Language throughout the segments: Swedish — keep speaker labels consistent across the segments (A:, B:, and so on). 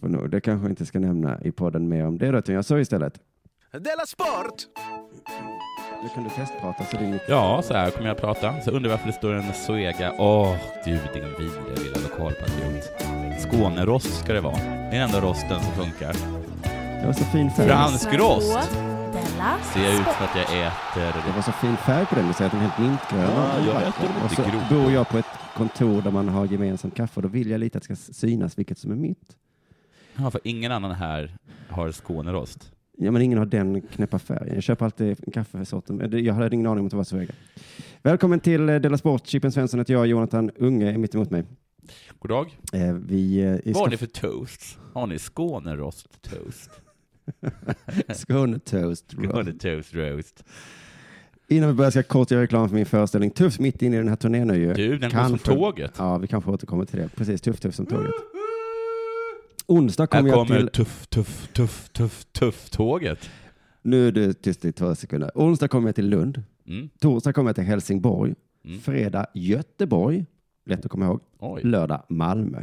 A: för nu, det kanske jag inte ska nämna i podden mer om det då, utan jag sa istället,
B: Della Sport!
A: nu kan du testprata så din
C: Ja, så här kommer jag att prata. Så jag undrar varför det står en Zoega. Åh, du din vidriga lilla lokalpatriot. Skånerost ska det vara. Det är den enda rosten som funkar.
A: Mm. Det var så fin färg.
C: Fransk rost
D: Della
C: ser jag ut
D: Sport.
C: för att jag äter
A: Det var så fin färg på den, du säger att den är helt mintgrön.
C: Ja,
A: Den är
C: jag
A: vacker.
C: äter dem
A: Och
C: inte
A: så
C: grovt.
A: bor jag på ett kontor där man har gemensamt kaffe och då vill jag lite att det ska synas vilket som är mitt.
C: Ja, för ingen annan här har Skånerost.
A: Ja, men ingen har den knäppa färgen. Jag köper alltid kaffesorten. Eh, det- Jag hade ingen aning om att det var så höga. Välkommen till eh, Della Sport. Chippen Svensson heter jag. Jonathan Unge är mitt emot mig.
C: God dag.
A: Eh, Vi eh, i
C: Vad har ni för toast? Har ni Skånerost toast?
A: Skåne Toast.
C: Skåne toast roast.
A: Innan vi börjar ska jag kort göra reklam för min föreställning Tuff mitt inne i den här turnén nu ju.
C: Du, den går som
A: Kanske-
C: tåget.
A: Ja, vi kanske återkommer till det. Precis, Tuff Tuff som tåget. Onsdag
C: Mm. Här
A: kommer jag
C: kommer
A: till...
C: tuff, tuff, tuff, tuff, tuff tåget.
A: Nu är du tyst i två sekunder. Onsdag kommer jag till Lund.
C: Mm.
A: Torsdag kommer jag till Helsingborg.
C: Mm.
A: Fredag Göteborg. Lätt att komma ihåg.
C: Oj.
A: Lördag Malmö.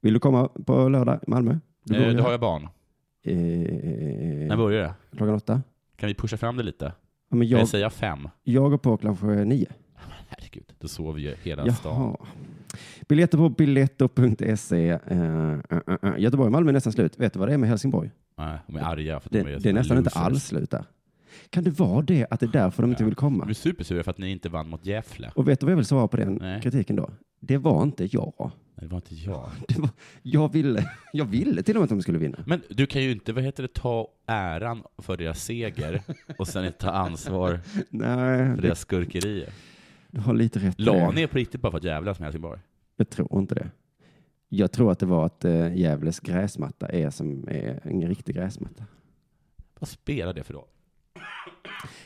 A: Vill du komma på lördag Malmö? Du bor
C: Eh,
A: ju
C: Då
A: här.
C: har jag barn.
A: Eh,
C: När börjar det?
A: klockan åtta?
C: Kan vi pusha fram det lite?
A: Ja, men
C: Jag...
A: jag,
C: Eller säga fem?
A: jag går på kanske nio.
C: Herregud, då sover ju hela stan.
A: Jaha. Biljetter på biletto.se. Eh, eh, eh, eh. Göteborg och Malmö är nästan slut. Vet du vad det är med Helsingborg?
C: Nej, de är arga för att
A: Det,
C: de är
A: det är nästan inte alls slut där. Kan det vara det att det är därför de inte
C: Ja.
A: vill
C: De
A: komma?
C: blir supersura för att ni inte vann mot Gävle.
A: Och vet du vad jag vill svara på den
C: Nej.
A: kritiken då? Det var inte jag.
C: Nej, Det var inte jag.
A: Det var, jag, ville, jag ville till och med att de skulle vinna.
C: Men du kan ju inte, vad heter det, ta äran för deras seger och sen inte ta ansvar
A: Nej,
C: för deras skurkerier.
A: du har lite rätt. i
C: La
A: det.
C: ni er på riktigt bara för att jävlas med Helsingborg?
A: Jag tror inte det. Jag tror att det var att eh, Gävles gräsmatta är som är en riktig gräsmatta.
C: Vad spelar det för roll?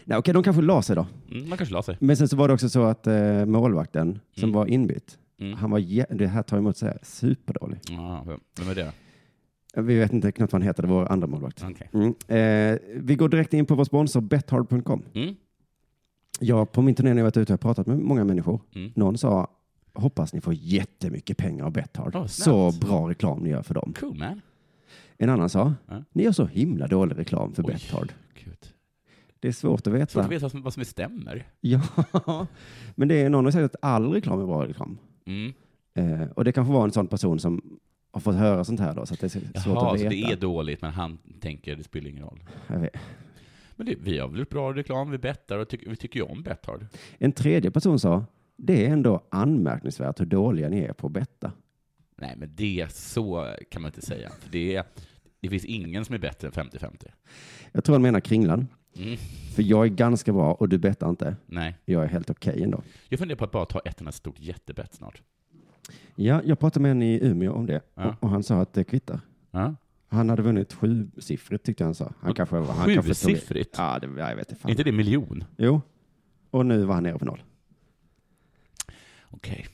A: Nej, okej, de kanske la sig då.
C: Mm, man kanske la sig.
A: Men sen så var det också så att eh, målvakten som
C: Mm.
A: var inbytt,
C: Mm.
A: han var, jä- det här tar emot så här, superdålig.
C: Ja, vem- vem är det?
A: Vi vet inte knappt vad han heter, det var vår andra målvakt.
C: Okej.
A: Mm. Eh, vi går direkt in på vår sponsor bethard.com.
C: Mm.
A: Ja, på min turné när jag varit ute har jag pratat med många människor.
C: Mm.
A: Någon sa, hoppas ni får jättemycket pengar av Bethard.
C: Ja,
A: så
C: snällt.
A: bra reklam ni gör för dem.
C: Cool man.
A: En annan sa,
C: Ja.
A: ni gör så himla dålig reklam för
C: Oj.
A: Bethard.
C: Gud.
A: Det är svårt att veta.
C: Svårt att veta vad som, vad som stämmer.
A: Ja, men det är någon som säger att all reklam är bra reklam.
C: Mm.
A: Eh, och det kanske var en sån person som har fått höra sånt här då, så att det är så- svårt
C: Jaha,
A: att
C: så
A: veta.
C: det är dåligt, men han tänker det spelar ingen roll.
A: Jag vet.
C: Men det, vi har väl gjort bra reklam, vi bettar och tycker- vi tycker ju om Betthard.
A: En tredje person sa, det är ändå anmärkningsvärt hur dåliga ni är på att betta.
C: Nej, men det så kan man inte säga. För det, det finns ingen som är bättre än 50-50.
A: Jag tror han menar kringlan,
C: Mm.
A: för jag är ganska bra och du bettar inte.
C: Nej.
A: Jag är helt okej ändå.
C: Jag funderar på att bara ta ett enda stort jättebett snart.
A: Ja, jag pratade med en i Umeå om det
C: Ja.
A: och, och han sa att det kvittar.
C: Ja.
A: Han hade vunnit sjusiffrigt tyckte jag han sa. Han kanske, han kanske tog-
C: Sjusiffrigt?
A: Ja, det, jag vet inte.
C: Är
A: Fan.
C: inte det miljon?
A: Jo, och nu var han nere på noll.
C: Okej.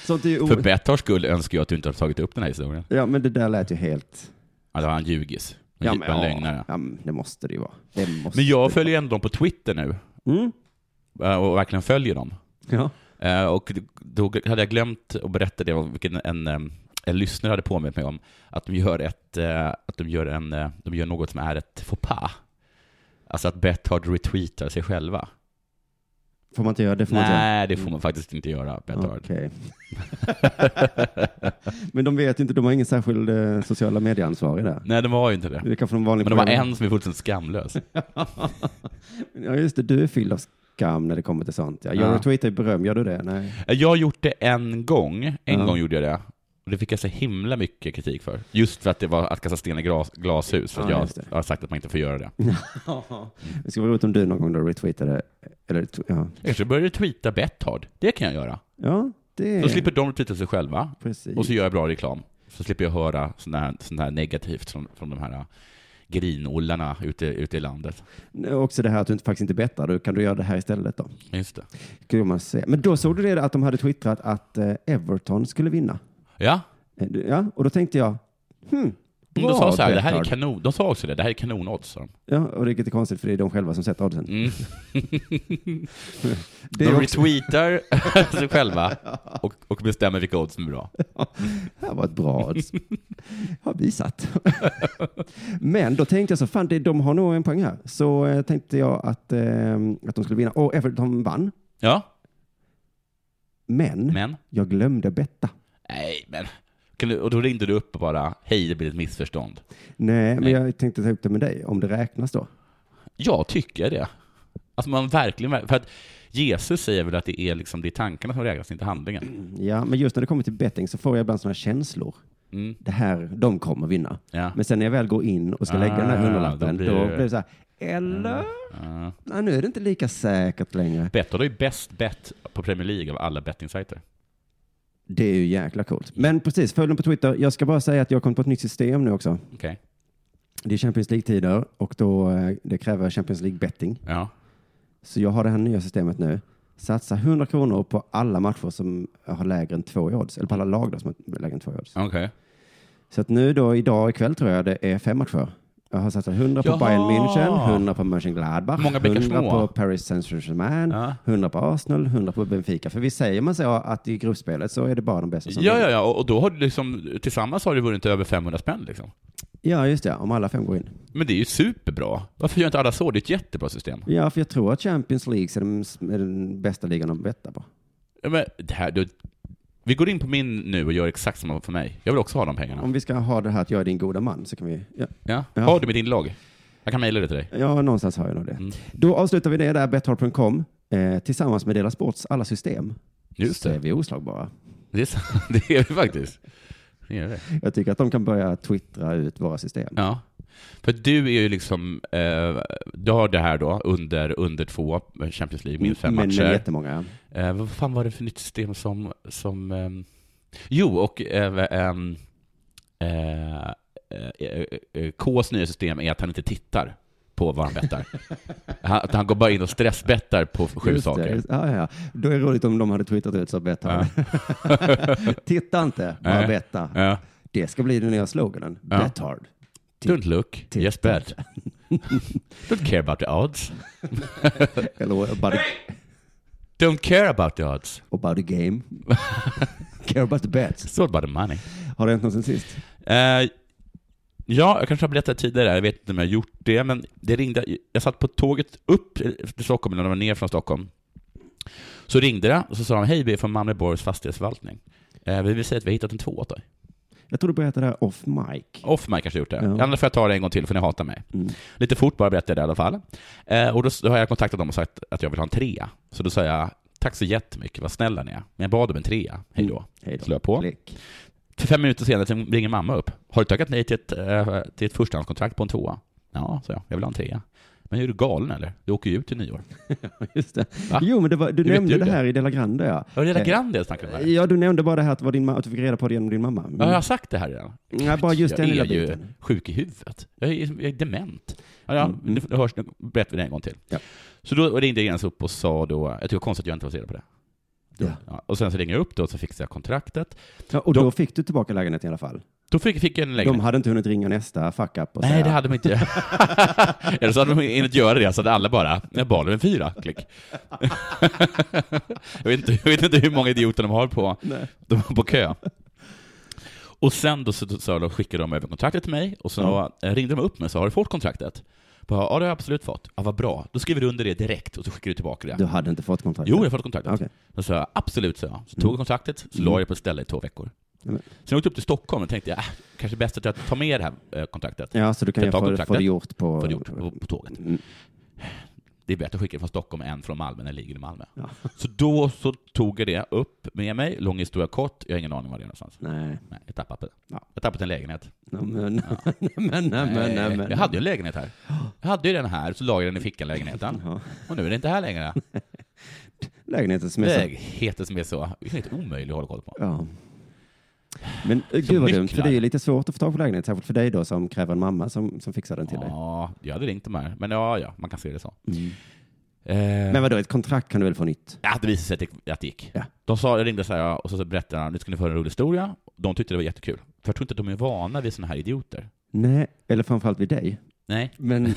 A: Sånt är ju
C: För
A: o-
C: Betthards skull önskar jag att du inte har tagit upp den här historien.
A: Ja, men det där lät ju helt...
C: Alltså, han ljugis. Han
A: Ja,
C: ja, en lögnare.
A: ja, men det måste det ju vara. Det måste
C: Men jag
A: det
C: följer ändå dem på Twitter nu,
A: vara. Mm.
C: eh, och verkligen följer dem.
A: Ja.
C: Eh, Och då hade jag glömt att berätta det, vilket en, eh, en lyssnare hade påmint mig om, att de gör, ett, eh, att de gör, en, eh, de gör något som är ett faux pas. Alltså att Betthard retweetar sig själva.
A: Får man inte göra det? Får man
C: Nej, det får man faktiskt inte göra,
A: inte göra.
C: Betthard.
A: Okej. men de vet inte, de har ingen särskild eh, sociala medieansvarig där.
C: Nej, det var ju inte det.
A: Det är kanske de vanliga
C: Men det var
A: programmen.
C: en som är fullständigt skamlös. Eh,
A: Ja, just det. Du är fylld av skam när det kommer till sånt. Ja. Jag
C: Ja.
A: retweetar ju beröm. Gör du det? Nej.
C: Jag har gjort det en gång. En
A: Ja.
C: gång gjorde jag det. Och det fick jag så himla mycket kritik för. Just för att det var att kasta sten i glas, glashus. För att
A: Ja,
C: jag
A: just det.
C: har sagt att man inte får göra det.
A: Det skulle vara roligt om du någon gång då retweetade. Eller, tw- ja.
C: Jag kanske började tweeta Betthard. Det kan jag göra.
A: ja, det
C: Då slipper de tweeta sig själva.
A: Precis.
C: Och så gör jag bra reklam. Så slipper jag höra sånt här, sån här negativt från, från de här äh, grinollarna ute, ute i landet.
A: Också det här att du inte- faktiskt inte bettar. Då kan du göra det här istället då.
C: Just det.
A: Skulle man se. Men då såg du det att de hade twittrat att eh, Everton skulle vinna.
C: Ja,
A: Eh, Ja, och då tänkte jag, hmm,
C: Mm, de sa så här, det här är
D: Betthard.
C: kanon, de sa också det, det här är kanonodds, sa de.
A: Ja, och det är lite konstigt för det är de själva som sätter oddsen.
C: Mm.
A: Det
C: De
A: är också,
C: retweetar sig själva och, och bestämmer vilka odds som är bra.
A: det här var ett bra odds. Har vi satt. Men då tänkte jag så, fan det, de har nog en poäng här. Så eh, tänkte jag att, eh, att de skulle vinna. Och Everton vann.
C: Ja,
A: Men,
C: men?
A: jag glömde betta.
C: Nej, men. Kan du, och då ringde du upp och bara, hej, det blir ett missförstånd.
A: Nej, men
C: Nej.
A: jag tänkte ta upp det med dig, om det räknas då.
C: Jag tycker det. Alltså man verkligen, ver- för att Jesus säger väl att det är liksom, det är tankarna som räknas, inte handlingen.
A: Ja, men just när det kommer till betting så får jag ibland sådana känslor.
C: Mm.
A: Det här, de kommer vinna.
C: Ja.
A: Men sen när jag väl går in och ska lägga den här
C: Ah,
A: hundralappen,
C: då blir
A: då
C: det- Mm.
A: blir det så här, eller?
C: Ja.
A: Nej, nu är det inte lika säkert längre.
C: Betthard har ju bäst bet på Premier League av alla bettingsajter.
A: Det är ju jäkla coolt. Men precis, följ dem på Twitter. Jag ska bara säga att jag har kommit på ett nytt system nu också.
C: Okej.
A: Det är Champions League-tider och då, eh, det kräver Champions League-betting.
C: Ja.
A: Så jag har det här nya systemet nu. Satsa 100 kronor på alla matcher som har lägre än två i odds, eller på alla lag då som har lägre än två i odds.
C: Okej.
A: Så att nu då idag ikväll tror jag det är fem matcher. Jag har satsat 100 på
C: Jaha.
A: Bayern München, 100 på Mönchengladbach,
C: Många bäckar
A: 100
C: små.
A: på Paris Saint-Germain,
C: Ja.
A: 100 på Arsenal, 100 på Benfica. För vi säger man så att i gruppspelet så är Alltså, det bara de bästa som
C: Ja,
A: vinner.
C: ja, ja, och och då har du liksom, tillsammans har du vunnit över 500 spänn liksom.
A: ja, just det. Om alla fem går in.
C: Men det är ju superbra. Varför gör inte alla så? Det är ett jättebra system.
A: Ja, för jag tror att Champions League är den, är den bästa ligan att betta på.
C: Ja, Men det här, du, vi går in på min nu och gör exakt samma för mig. Jag vill också ha de pengarna.
A: Om vi ska ha det här att jag är din goda man så kan vi... Ja,
C: Ja.
A: Ja.
C: Har du mitt inlogg? Jag kan mejla det till dig.
A: ja någonstans har jag nog det.
C: Mm.
A: Då avslutar vi det där, betthard.com, eh, tillsammans med Dela Sports alla system.
C: Just
A: så är
C: det.
A: vi oslagbara.
C: Det är, sant. det är vi faktiskt. Det är det.
A: Jag tycker att de kan börja twittra ut våra system.
C: Ja. För du är ju liksom, eh, du har det här då, under, under två eh, Champions League, minst fem
A: men, Men
C: matcher.
A: jättemånga, ja.
C: Eh, vad fan var det för nytt system som... som ehm, jo, och eh, ehm, eh, eh, eh, eh, Ks nya system är att han inte tittar på vad han bettar. han, att han går bara in och stressbettar på sju
A: Just det,
C: saker.
A: just- Ja, ja, ja. Då är det roligt om de hade twittrat ut så betta. Titta inte, bara
C: Nej.
A: betta.
C: Ja.
A: Det ska bli den nya sloganen.
C: Ja.
A: Bet hard.
C: Don't look,
A: titta.
C: just bet. Don't care about the odds.
A: Eller about,
C: Don't care about the odds.
A: about the game. Care about the bets.
C: It's all about the money.
A: Har det hänt något sen sist?
C: Eh, ja, jag kanske har berättat tidigare, jag vet inte om jag har gjort det, men det ringde, jag satt på tåget upp till Stockholm, eller när jag var ner från Stockholm. Så ringde det, och så sa de, hej, vi är från Malmö Borgs fastighetsförvaltning. Eh, vi vill säga att vi har hittat en tvåa åt dig.
A: Jag tror du berättade det här off mic. Mm.
C: Offman kanske har gjort det.
A: Ja.
C: Annars får jag ta det en gång till, för ni hatar mig. Lite fort bara berättade jag det i alla fall. Eh, och då, s- då har jag kontaktat dem och sagt att jag vill ha en trea. Så då sa jag, tack så jättemycket, vad snälla ni är. Men jag bad om en trea, hej då.
A: Hej då.
C: Slå på.
A: Klick.
C: För fem minuter senare så ringer mamma upp. Har du tackat nej till ett, eh, till ett förstahandskontrakt på en tvåa? Ja, sa jag. Jag vill ha en trea. Men är du galen eller? Du åker ju ut i nyår.
A: Just det.
C: Va?
A: Jo, men det var, du
C: Hur vet
A: nämnde
C: du
A: det
C: det?
A: här i Dela Grande, ja.
C: Var det
A: Eh,
C: hela Grande jag snackade om här?
A: Ja, du nämnde bara det här att, det var din ma- att du fick reda på det genom din mamma. Mm.
C: Ja, Har jag sagt det här redan?
A: Nej, bara just
C: jag
A: den lilla
C: är ju
A: biten.
C: sjuk i huvudet. Jag är, jag är dement. Ja, ja,
A: Mm.
C: nu, nu hörs, nu berättar vi det en gång till.
A: Ja.
C: Så då ringde Jens upp och sa då, jag tycker det var konstigt att jag inte var så reda på det. Då-
A: Ja.
C: Ja, och sen så ringer jag upp då och så fixar jag kontraktet.
A: Ja, och då
C: De-
A: fick du tillbaka lägenheten i alla fall.
C: Då fick, fick jag en lägenhet.
A: De hade inte hunnit ringa nästa fuck up och
C: Nej,
A: säga,
C: det hade de inte. Eller så hade de inte göra det, så hade alla bara, jag bad om en fyra, klick. jag, vet inte, jag vet inte hur många idioter de har på, de har på kö. Och sen då så, så då skickade de över kontraktet till mig, och så eh, ringde de upp mig och sa, har du fått kontraktet? Bara, ja, det har jag absolut fått. Ja, vad bra. Då skriver du under det direkt, och så skickar du tillbaka det. Mm.
A: Du hade inte fått kontraktet?
C: Jo, jag har fått kontraktet.
A: Okej.
C: Då sa jag absolut, sa jag. Så tog jag kontraktet, så la jag det på ett ställe i två veckor.
A: Ja, men-
C: Sen åkte jag upp till Stockholm och tänkte, jag, äh, kanske bäst att jag tar med det här eh, kontraktet.
A: Ja, så du kan
C: Kan
A: ju
C: ta
A: få, få
C: kontraktet?
A: det gjort på...
C: För det gjort på, på tåget.
A: Mm.
C: Det är bättre att skicka från Stockholm än från Malmö när det ligger i Malmö.
A: Ja.
C: Så då så tog jag det upp med mig, lång historia kort, jag har ingen aning var det är någonstans.
A: Nej,
C: Nej, jag tappade det.
A: Ja.
C: Jag tappade en lägenhet.
A: nej men, nej men, nej men, nej men.
C: jag hade ju en lägenhet här. Jag hade ju den här, så la jag den i fickan, lägenheten.
A: Ja.
C: Och nu är det inte här längre.
A: Lägenheten som är så-
C: Lägenheten som är så, det är helt omöjlig att hålla koll på.
A: Ja. Men eh, gud vad dumt, för
C: nycklar.
A: det är ju lite svårt att få tag på lägenhet, särskilt för dig då som kräver en mamma som, som fixar den till dig.
C: Ja, jag hade ringt de här. Men ja, ja, man kan se det så.
A: Mm.
C: Eh,
A: Men vadå, ett kontrakt kan du väl få nytt?
C: Ja, det visade sig att det gick. Att det gick.
A: Ja.
C: De sa, jag ringde så här, och så berättade han, nu ska ni få höra en rolig historia. De tyckte det var jättekul. För jag tror inte att de är vana vid sådana här idioter.
A: Nej, eller framförallt vid dig.
C: Nej.
A: Men eh,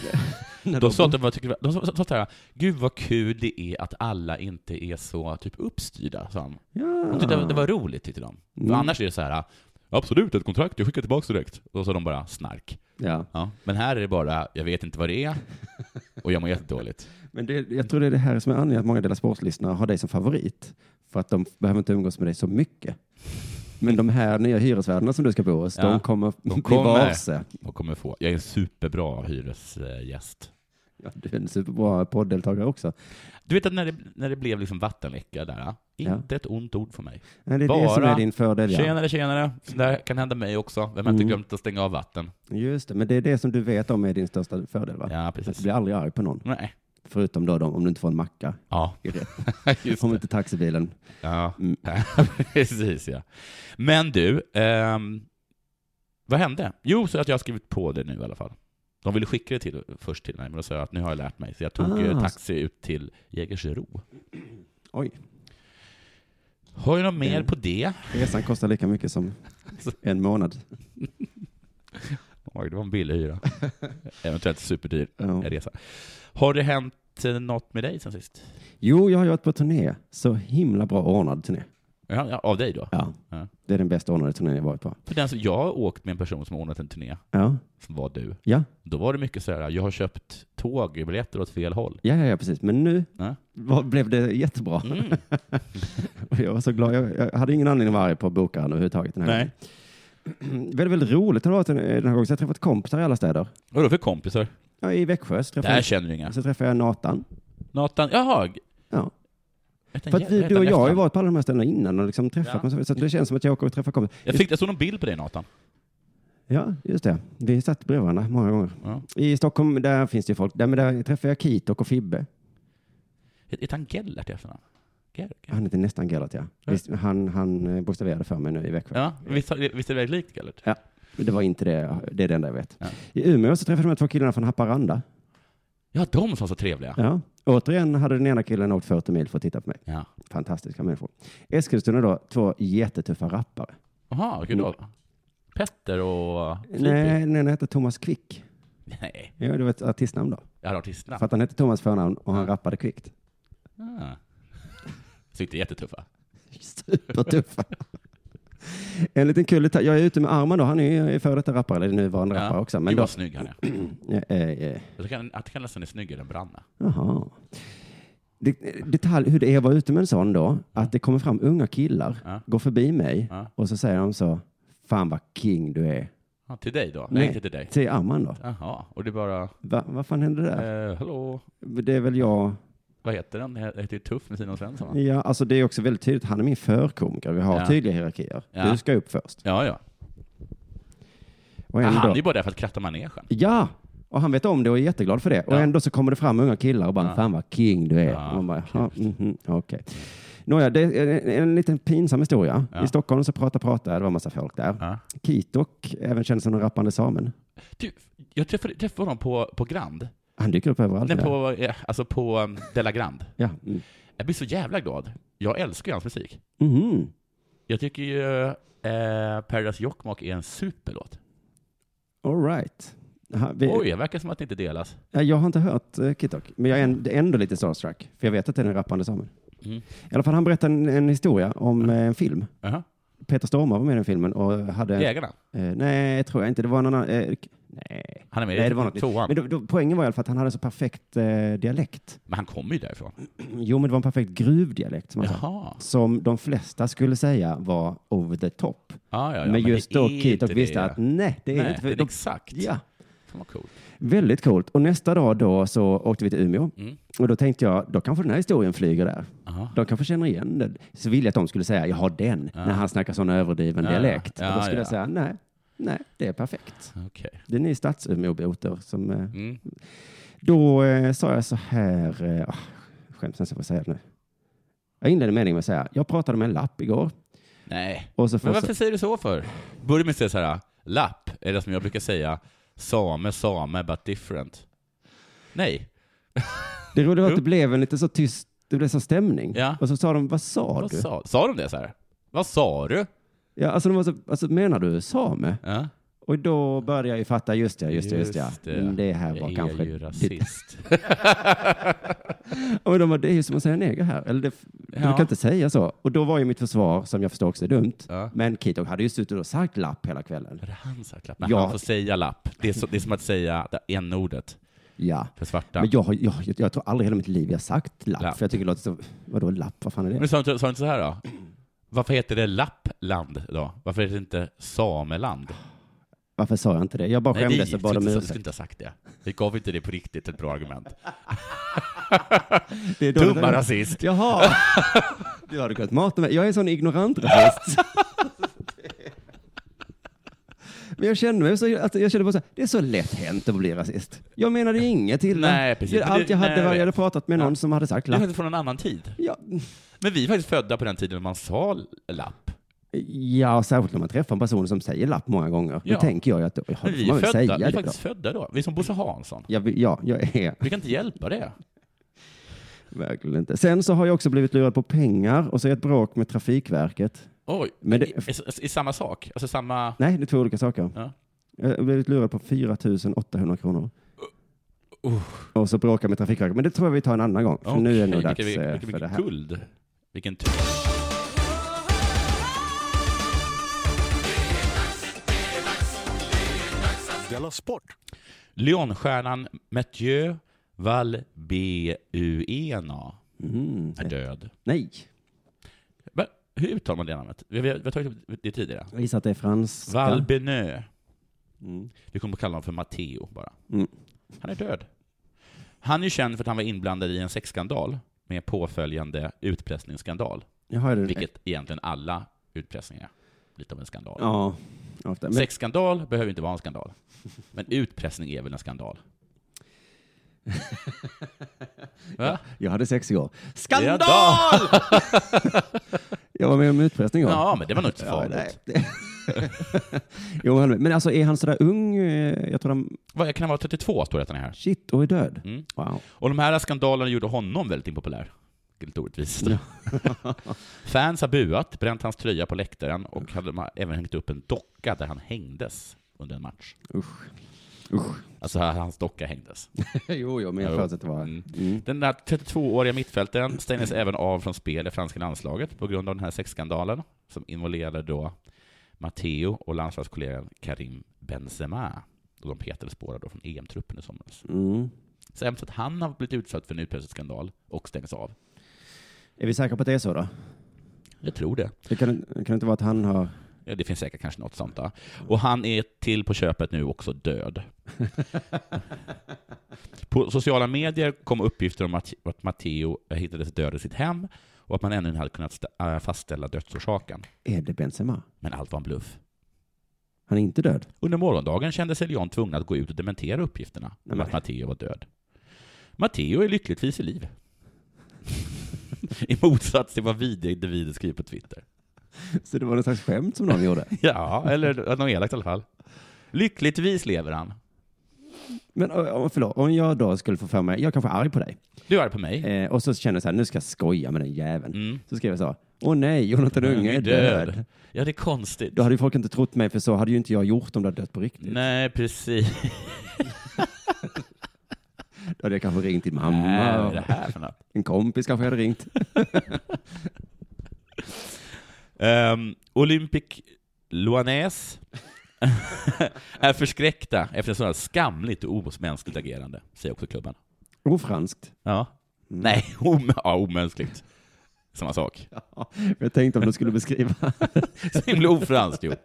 A: när
C: De sa, att de, var- tyckte- de sa, sa så här, gud vad kul det är att alla inte är så typ uppstyrda, sa de.
A: Ja.
C: De tyckte det var roligt, tyckte de. För
A: Mm.
C: annars är det så här, absolut ett kontrakt, jag skickar tillbaka direkt. Och så sa de bara, snark.
A: Ja.
C: Ja. Men här är det bara, jag vet inte vad det är, och jag mår jättedåligt.
A: Men det, jag tror det är det här som är anledningen att många Della Sport-lyssnare har dig som favorit. För att de behöver inte umgås med dig så mycket. Men de här nya hyresvärdarna som du ska bo hos,
C: Ja,
A: de kommer
C: de
A: bli
C: kommer.
A: varse.
C: Och kommer få, jag är en superbra hyresgäst.
A: Ja, du är en superbra poddeltagare också.
C: Du vet att när det, när det blev liksom vattenläcka där, ja,
A: Ja.
C: inte ett ont ord för mig.
A: Nej, det är det
C: Bara
A: som är din fördel. Ja.
C: Tjenare, tjenare. Det där kan hända mig också. Vem har inte
A: Mm.
C: glömt att stänga av vatten?
A: Just det, men det är det som du vet om är din största fördel, va?
C: Ja,
A: Att du
C: precis.
A: blir aldrig arg på någon.
C: Nej.
A: Förutom då de, om du inte får en macka.
C: Ja,
A: i det.
C: just
A: Om
C: det.
A: inte taxibilen.
C: Ja,
A: Mm.
C: precis ja. Men du, ehm, vad hände? Jo, så att jag har skrivit på det nu i alla fall. De ville skicka det till, först till mig, men då sa jag att nu har jag lärt mig. Så jag tog
A: Ah.
C: eh, taxi ut till Jägersro.
A: Oj,
C: Har du något mer
A: Mm.
C: på det?
A: resan kostar lika mycket som
C: Alltså.
A: en månad.
C: Oj, det var en billig hyra. Eventuellt superdyr
A: Ja.
C: resa. Har det hänt eh, något med dig sen sist?
A: Jo, jag har varit på turné. Så himla bra ordnad turné.
C: Ja, ja, av dig då?
A: Ja.
C: Ja.
A: Det är den bästa ordnade turnén jag varit på.
C: För den som, jag har åkt med en person som har ordnat en turné,
A: Ja,
C: som var du.
A: ja,
C: Då var det mycket så här, jag har köpt tågbiljetter åt fel håll.
A: ja, ja, ja precis. Men nu
C: Ja.
A: var, blev det jättebra.
C: Mm.
A: Och Jag var så glad. Jag, jag hade ingen anledning att vara arg på bokaren överhuvudtaget den här
C: Nej.
A: gången. Väldigt, väldigt roligt har det varit den, den här gången. Så jag har träffat kompisar i alla städer.
C: Vadå för kompisar?
A: Ja, I Växjö så träffade,
C: Där känner du inga.
A: jag, så träffade jag Nathan.
C: Nathan, jaha.
A: Ja.
C: Heter
A: För
C: han
A: att
C: Jä-
A: vi,
C: heter
A: du och
C: han
A: jag har ju
C: efternamn?
A: varit på alla de här ställena innan och liksom träffat
C: Ja.
A: ja. så det känns som att jag åker och träffar kompisar.
C: Jag, fick, jag såg någon bild på dig Nathan.
A: Ja, just det. Vi satt bredvid varandra många gånger.
C: Ja.
A: I Stockholm, där finns det ju folk. Där, men där träffade jag Kitok och Fibbe.
C: Heter han Gellert i efternamn? Ger- Ger-
A: Han heter nästan Gellert, ja.
C: Ja.
A: Visst, han, han eh, bokstaverade för mig nu i Växjö.
C: Ja, visst, har- visst är det väldigt likt Gellert?
A: Men det var inte det. Det är det enda jag vet.
C: Ja.
A: I Umeå så träffade jag de här två killarna från Haparanda.
C: Ja, de som var så trevliga.
A: Ja. Återigen hade den ena killen åkt 40 mil för att titta på mig.
C: Ja.
A: Fantastiska människor. Eskilstuna då, två jättetuffa rappare.
C: Jaha, vilka då? Petter och... Filip?
A: Nej, den ena hette Thomas Quick.
C: Nej.
A: Ja, det var ett artistnamn då.
C: Jag hade artistnamn.
A: För att han hette Thomas förnamn och han rappade kvickt.
C: Ah. Så inte jättetuffa.
A: Supertuffa. Typ, En liten kul detalj. Jag är ute med Arman då. Han är ju före detta rappare, eller nuvarande rappare också. Men
C: Gud
A: då,
C: vad snygg han är.
A: eh, eh, eh,
C: Jag kan, jag kan nästan är snyggare än Branna.
A: jaha. Det- Detalj hur det är att vara ute med en sån då. Att det kommer fram unga killar,
C: Ja.
A: går förbi mig
C: Ja.
A: och så säger de så. Fan vad king du är.
C: Ja, till dig då? Nej,
A: Nej.
C: inte till dig.
A: Till Arman då.
C: Jaha, och det är bara...
A: Va, vad fan hände där?
C: Eh, hallå?
A: Det är väl jag.
C: Vad heter den? Jag heter ju Tuff med Simon Svensson va?
A: Ja, alltså det är också väldigt tydligt. Han är min förkomiker. Vi har
C: Ja.
A: tydliga hierarkier.
C: Ja.
A: Du ska upp först.
C: Ja, ja.
A: Och
C: Ah,
A: ändå.
C: Han är ju bara där för att kratta manegen.
A: Ja, och han vet om det och är jätteglad för det. Och
C: Ja.
A: ändå så kommer det fram unga killar och bara,
C: Ja.
A: fan vad king du är.
C: Ja,
A: och man bara, ja, mhm, okej. Nåja, det är en, en liten pinsam historia.
C: Ja.
A: I Stockholm så prata, prata, det var massa folk där.
C: Ja.
A: Kitok, även känd som den rappande samen.
C: Du, jag träffade, träffade honom på, på Grand.
A: Han dyker upp överallt.
C: Nej,
A: där.
C: på, eh, alltså på um, Della Grand.
A: Ja. Mm.
C: Jag blir så jävla glad. Jag älskar ju hans musik.
A: Mhm.
C: Jag tycker ju eh, Paradise Jokkmokk är en superlåt.
A: All right. Ha, vi,
C: Oj, det verkar som att det inte delas.
A: Ja, Jag har inte hört eh, Kitok, men jag är änd- ändå lite starstruck, för jag vet att det är den rappande samen.
C: Mm.
A: I alla fall, han berättade en, en historia om eh, en film.
C: Jaha.
A: Peter Stormare var med i den filmen och hade...
C: Jägarna.
A: Eh, nej, tror jag inte. Det var någon annan. Eh, k- nej.
C: Han är med
A: Nej,
C: i
A: det var något nytt.
C: tvåan.
A: Men
C: Men,
A: då, då, poängen var i alla fall att han hade så perfekt eh, dialekt.
C: han kommer ju därifrån.
A: Jo, men det var en perfekt gruvdialekt som han sa.
C: Jaha.
A: Som de flesta skulle säga var over the top.
C: Ja, ja, ja,
A: men just
C: det är
A: då Keith och
C: inte
A: visste
C: det.
A: att nej, det är
C: Nej,
A: inte
C: det
A: för
C: är
A: de,
C: exakt.
A: Ja,
C: Fan vad coolt.
A: väldigt coolt. Och nästa dag då så åkte vi till Umeå
C: Mm.
A: och då tänkte jag, då kanske den här historien flyger där.
C: Jaha.
A: De kanske känner igen den. Så ville jag att de skulle säga, jag har den,
C: Ja.
A: när han snackar sån överdriven
C: Ja, ja.
A: dialekt.
C: Ja,
A: och då skulle
C: ja.
A: jag säga, nej, nej, det är perfekt.
C: Okej.
A: Det är ni stads-Umeåbotor som eh,
C: Mm.
A: Då eh, sa jag så här, eh, ah, skäms nästan för att säga det nu. Jag inledde meningen med att säga, jag pratade med en lapp igår.
C: Nej.
A: Och så får
C: Men
A: jag så-
C: varför säger du så för? Börja med att säga så här, lapp, eller som jag brukar säga, same, same, but different. Nej.
A: Det roliga var att
C: Jo.
A: det blev en lite så tyst, det blev så stämning.
C: Ja.
A: Och så sa de, vad sa
C: Vad
A: du?
C: sa, sa de det så här? Vad sa du?
A: Ja, alltså, de var så, alltså menar du same?
C: Ja.
A: Och då började jag ju fatta, just det, just det, just det.
C: Just det.
A: det. det här var
C: Jag
A: kanske...
C: är ju rasist.
A: Och de bara, det är ju som att säga neger här. Eller det, Du
C: Ja.
A: kan inte säga så. Och då var ju mitt försvar, som jag förstår också är dumt,
C: Ja.
A: men Kitok hade ju suttit och sagt lapp hela kvällen.
C: Var det han sa klapp? Nej,
A: Ja.
C: han får säga lapp. Det är, så, det är som att säga det n-ordet
A: Ja.
C: för svarta.
A: Men jag, har- jag, jag, jag tror aldrig i hela mitt liv jag har sagt lapp,
C: Lapp.
A: för jag tycker det låter så, vadå lapp, vad fan är det?
C: Men sa inte, sa inte så här då? Varför heter det Lappland då? Varför heter det inte Sameland?
A: Varför sa jag inte det? Jag bara
C: Nej, vi
A: skämdes och bad
C: skulle
A: om
C: inte, skulle
A: ursäkt.
C: inte ha sagt det. Vi gav inte det på riktigt ett bra argument.
A: Det är dåligt.
C: Dumma rasist.
A: Jaha! Du hade kunnat mata mig. Jag är en sån ignorant rasist. Men jag kände mig så, att jag kände bara så här, det är så lätt hänt att bli rasist. Jag menade inget illa.
C: Nej, precis.
A: Det-
C: Men
A: Allt
C: det-
A: jag
C: nej,
A: hade
C: jag
A: var jag hade
C: vet.
A: pratat med någon som hade sagt
C: Det är
A: lapp.
C: faktiskt från en annan tid.
A: Ja,
C: Men vi är faktiskt födda på den tiden när man sa lapp.
A: ja, särskilt när man träffar en person som säger lapp många gånger.
C: Ja.
A: Då tänker jag ju att, ja,
C: Men
A: får
C: vi är
A: man väl
C: födda.
A: säga
C: Vi
A: det
C: är
A: då?
C: faktiskt födda då. Vi är som Bosse Hansson.
A: Jag, vill- ja, jag är
C: Vi kan inte hjälpa det.
A: verkligen inte. Sen så har jag också blivit lurad på pengar och så är jag ett bråk med Trafikverket.
C: Oj,
A: Men det-
C: i, i, i samma sak? Alltså samma...
A: Nej, det är två olika saker.
C: Ja.
A: Jag har blivit lurad på 4 800 kronor.
C: Uh.
A: Och så bråkar jag med Trafikverket. Men det tror jag vi tar en annan gång. För nu är det nog dags
C: vilken,
A: eh,
C: vilken,
A: för
C: vilken
A: det här.
C: guld. Vilken typ. tur.
B: Della Sport!
C: Lyonstjärnan Mathieu Valbuena
A: Mm.
C: är död.
A: Nej,
C: Men, hur uttalar man det namnet? Vi, vi, har- vi har tagit upp det tidigare.
A: jag gissar att det är franska.
C: Valbenö.
A: Mm.
C: Vi kommer att kalla honom för Matteo bara.
A: Mm.
C: Han är död. Han är ju känd för att han var inblandad i en sexskandal med påföljande utpressningsskandal.
A: Jag har det.
C: Vilket egentligen alla utpressningar är lite av en skandal.
A: Ja, ofta. Men,
C: Sexskandal behöver inte vara en skandal. Men utpressning är väl en skandal? Va?
A: jag hade sex igår. Skandal!
C: Ja, då!
A: Jag var med om utpressning igår.
C: Ja, men det var nog inte så
A: Ja,
C: farligt.
A: nej. jo, han- men alltså är han sådär ung? eh, Jag tror han,
C: Vad, jag kan vara 32, står det att han är här.
A: shit, och är död.
C: Mm.
A: Wow.
C: Och de här skandalerna gjorde honom väldigt impopulär. Lite orättvist.
A: Ja.
C: Fans har buat, bränt hans tröja på läktaren och hade de även hängt upp en docka där han hängdes under en match.
A: Usch. Usch.
C: Alltså här hans docka hängdes.
A: jo, jo, men jag
C: Jo.
A: förutsätter det var...
C: Mm.
A: Mm.
C: Den där 32-åriga mittfältaren stängdes även av från spel i franska landslaget på grund av den här sexskandalen som involverade då Matteo och landslagskollegan Karim Benzema. Och de petades båda då från EM-truppen i somras.
A: Mm.
C: Så även så att han har blivit utsatt för en utpressningsskandal och stängs av.
A: Är vi säkra på att det är så då?
C: Jag tror det.
A: Det kan, kan det inte vara att han har...
C: Ja, det finns säkert kanske något sånt där. Och han är till på köpet nu också död. på sociala medier kom uppgifter om att, att Matteo hittades död i sitt hem och att man ännu inte hade kunnat sta- äh, fastställa dödsorsaken.
A: Är det Benzema?
C: Men allt var en bluff.
A: Han är inte död.
C: Under morgondagen kände sig Leon tvungen att gå ut och dementera uppgifterna om
A: Nej, men-
C: att Matteo var död. Matteo är lyckligtvis i liv. I motsats till vad vidriga individer skriver på Twitter.
A: Så det var någon slags skämt som någon gjorde.
C: Ja, eller att något elakt i alla fall. Lyckligtvis lever han.
A: Men ö, ö, förlåt, om jag då skulle få för mig, jag kanske är arg på dig,
C: Du är på mig.
A: eh, och så känner jag så här, nu ska jag skoja med den jäveln.
C: Mm.
A: Så skrev jag så, åh nej, Jonathan Unge är död.
C: Ja, det är konstigt.
A: Då hade ju folk inte trott mig, för så hade ju inte jag gjort om det hade dött på riktigt.
C: Nej, precis.
A: Då hade jag kanske ringt till
C: Nej,
A: mamma,
C: vad är det här för något?
A: en kompis kanske jag hade ringt.
C: Ehm, Olympic Loanäs är förskräckta efter sådant skamligt och omänskligt agerande, säger också klubben.
A: Ofranskt.
C: Ja. Nej, om, ja, omänskligt. Samma sak.
A: Ja, jag tänkte om du skulle beskriva.
C: Så himla ofranskt gjort.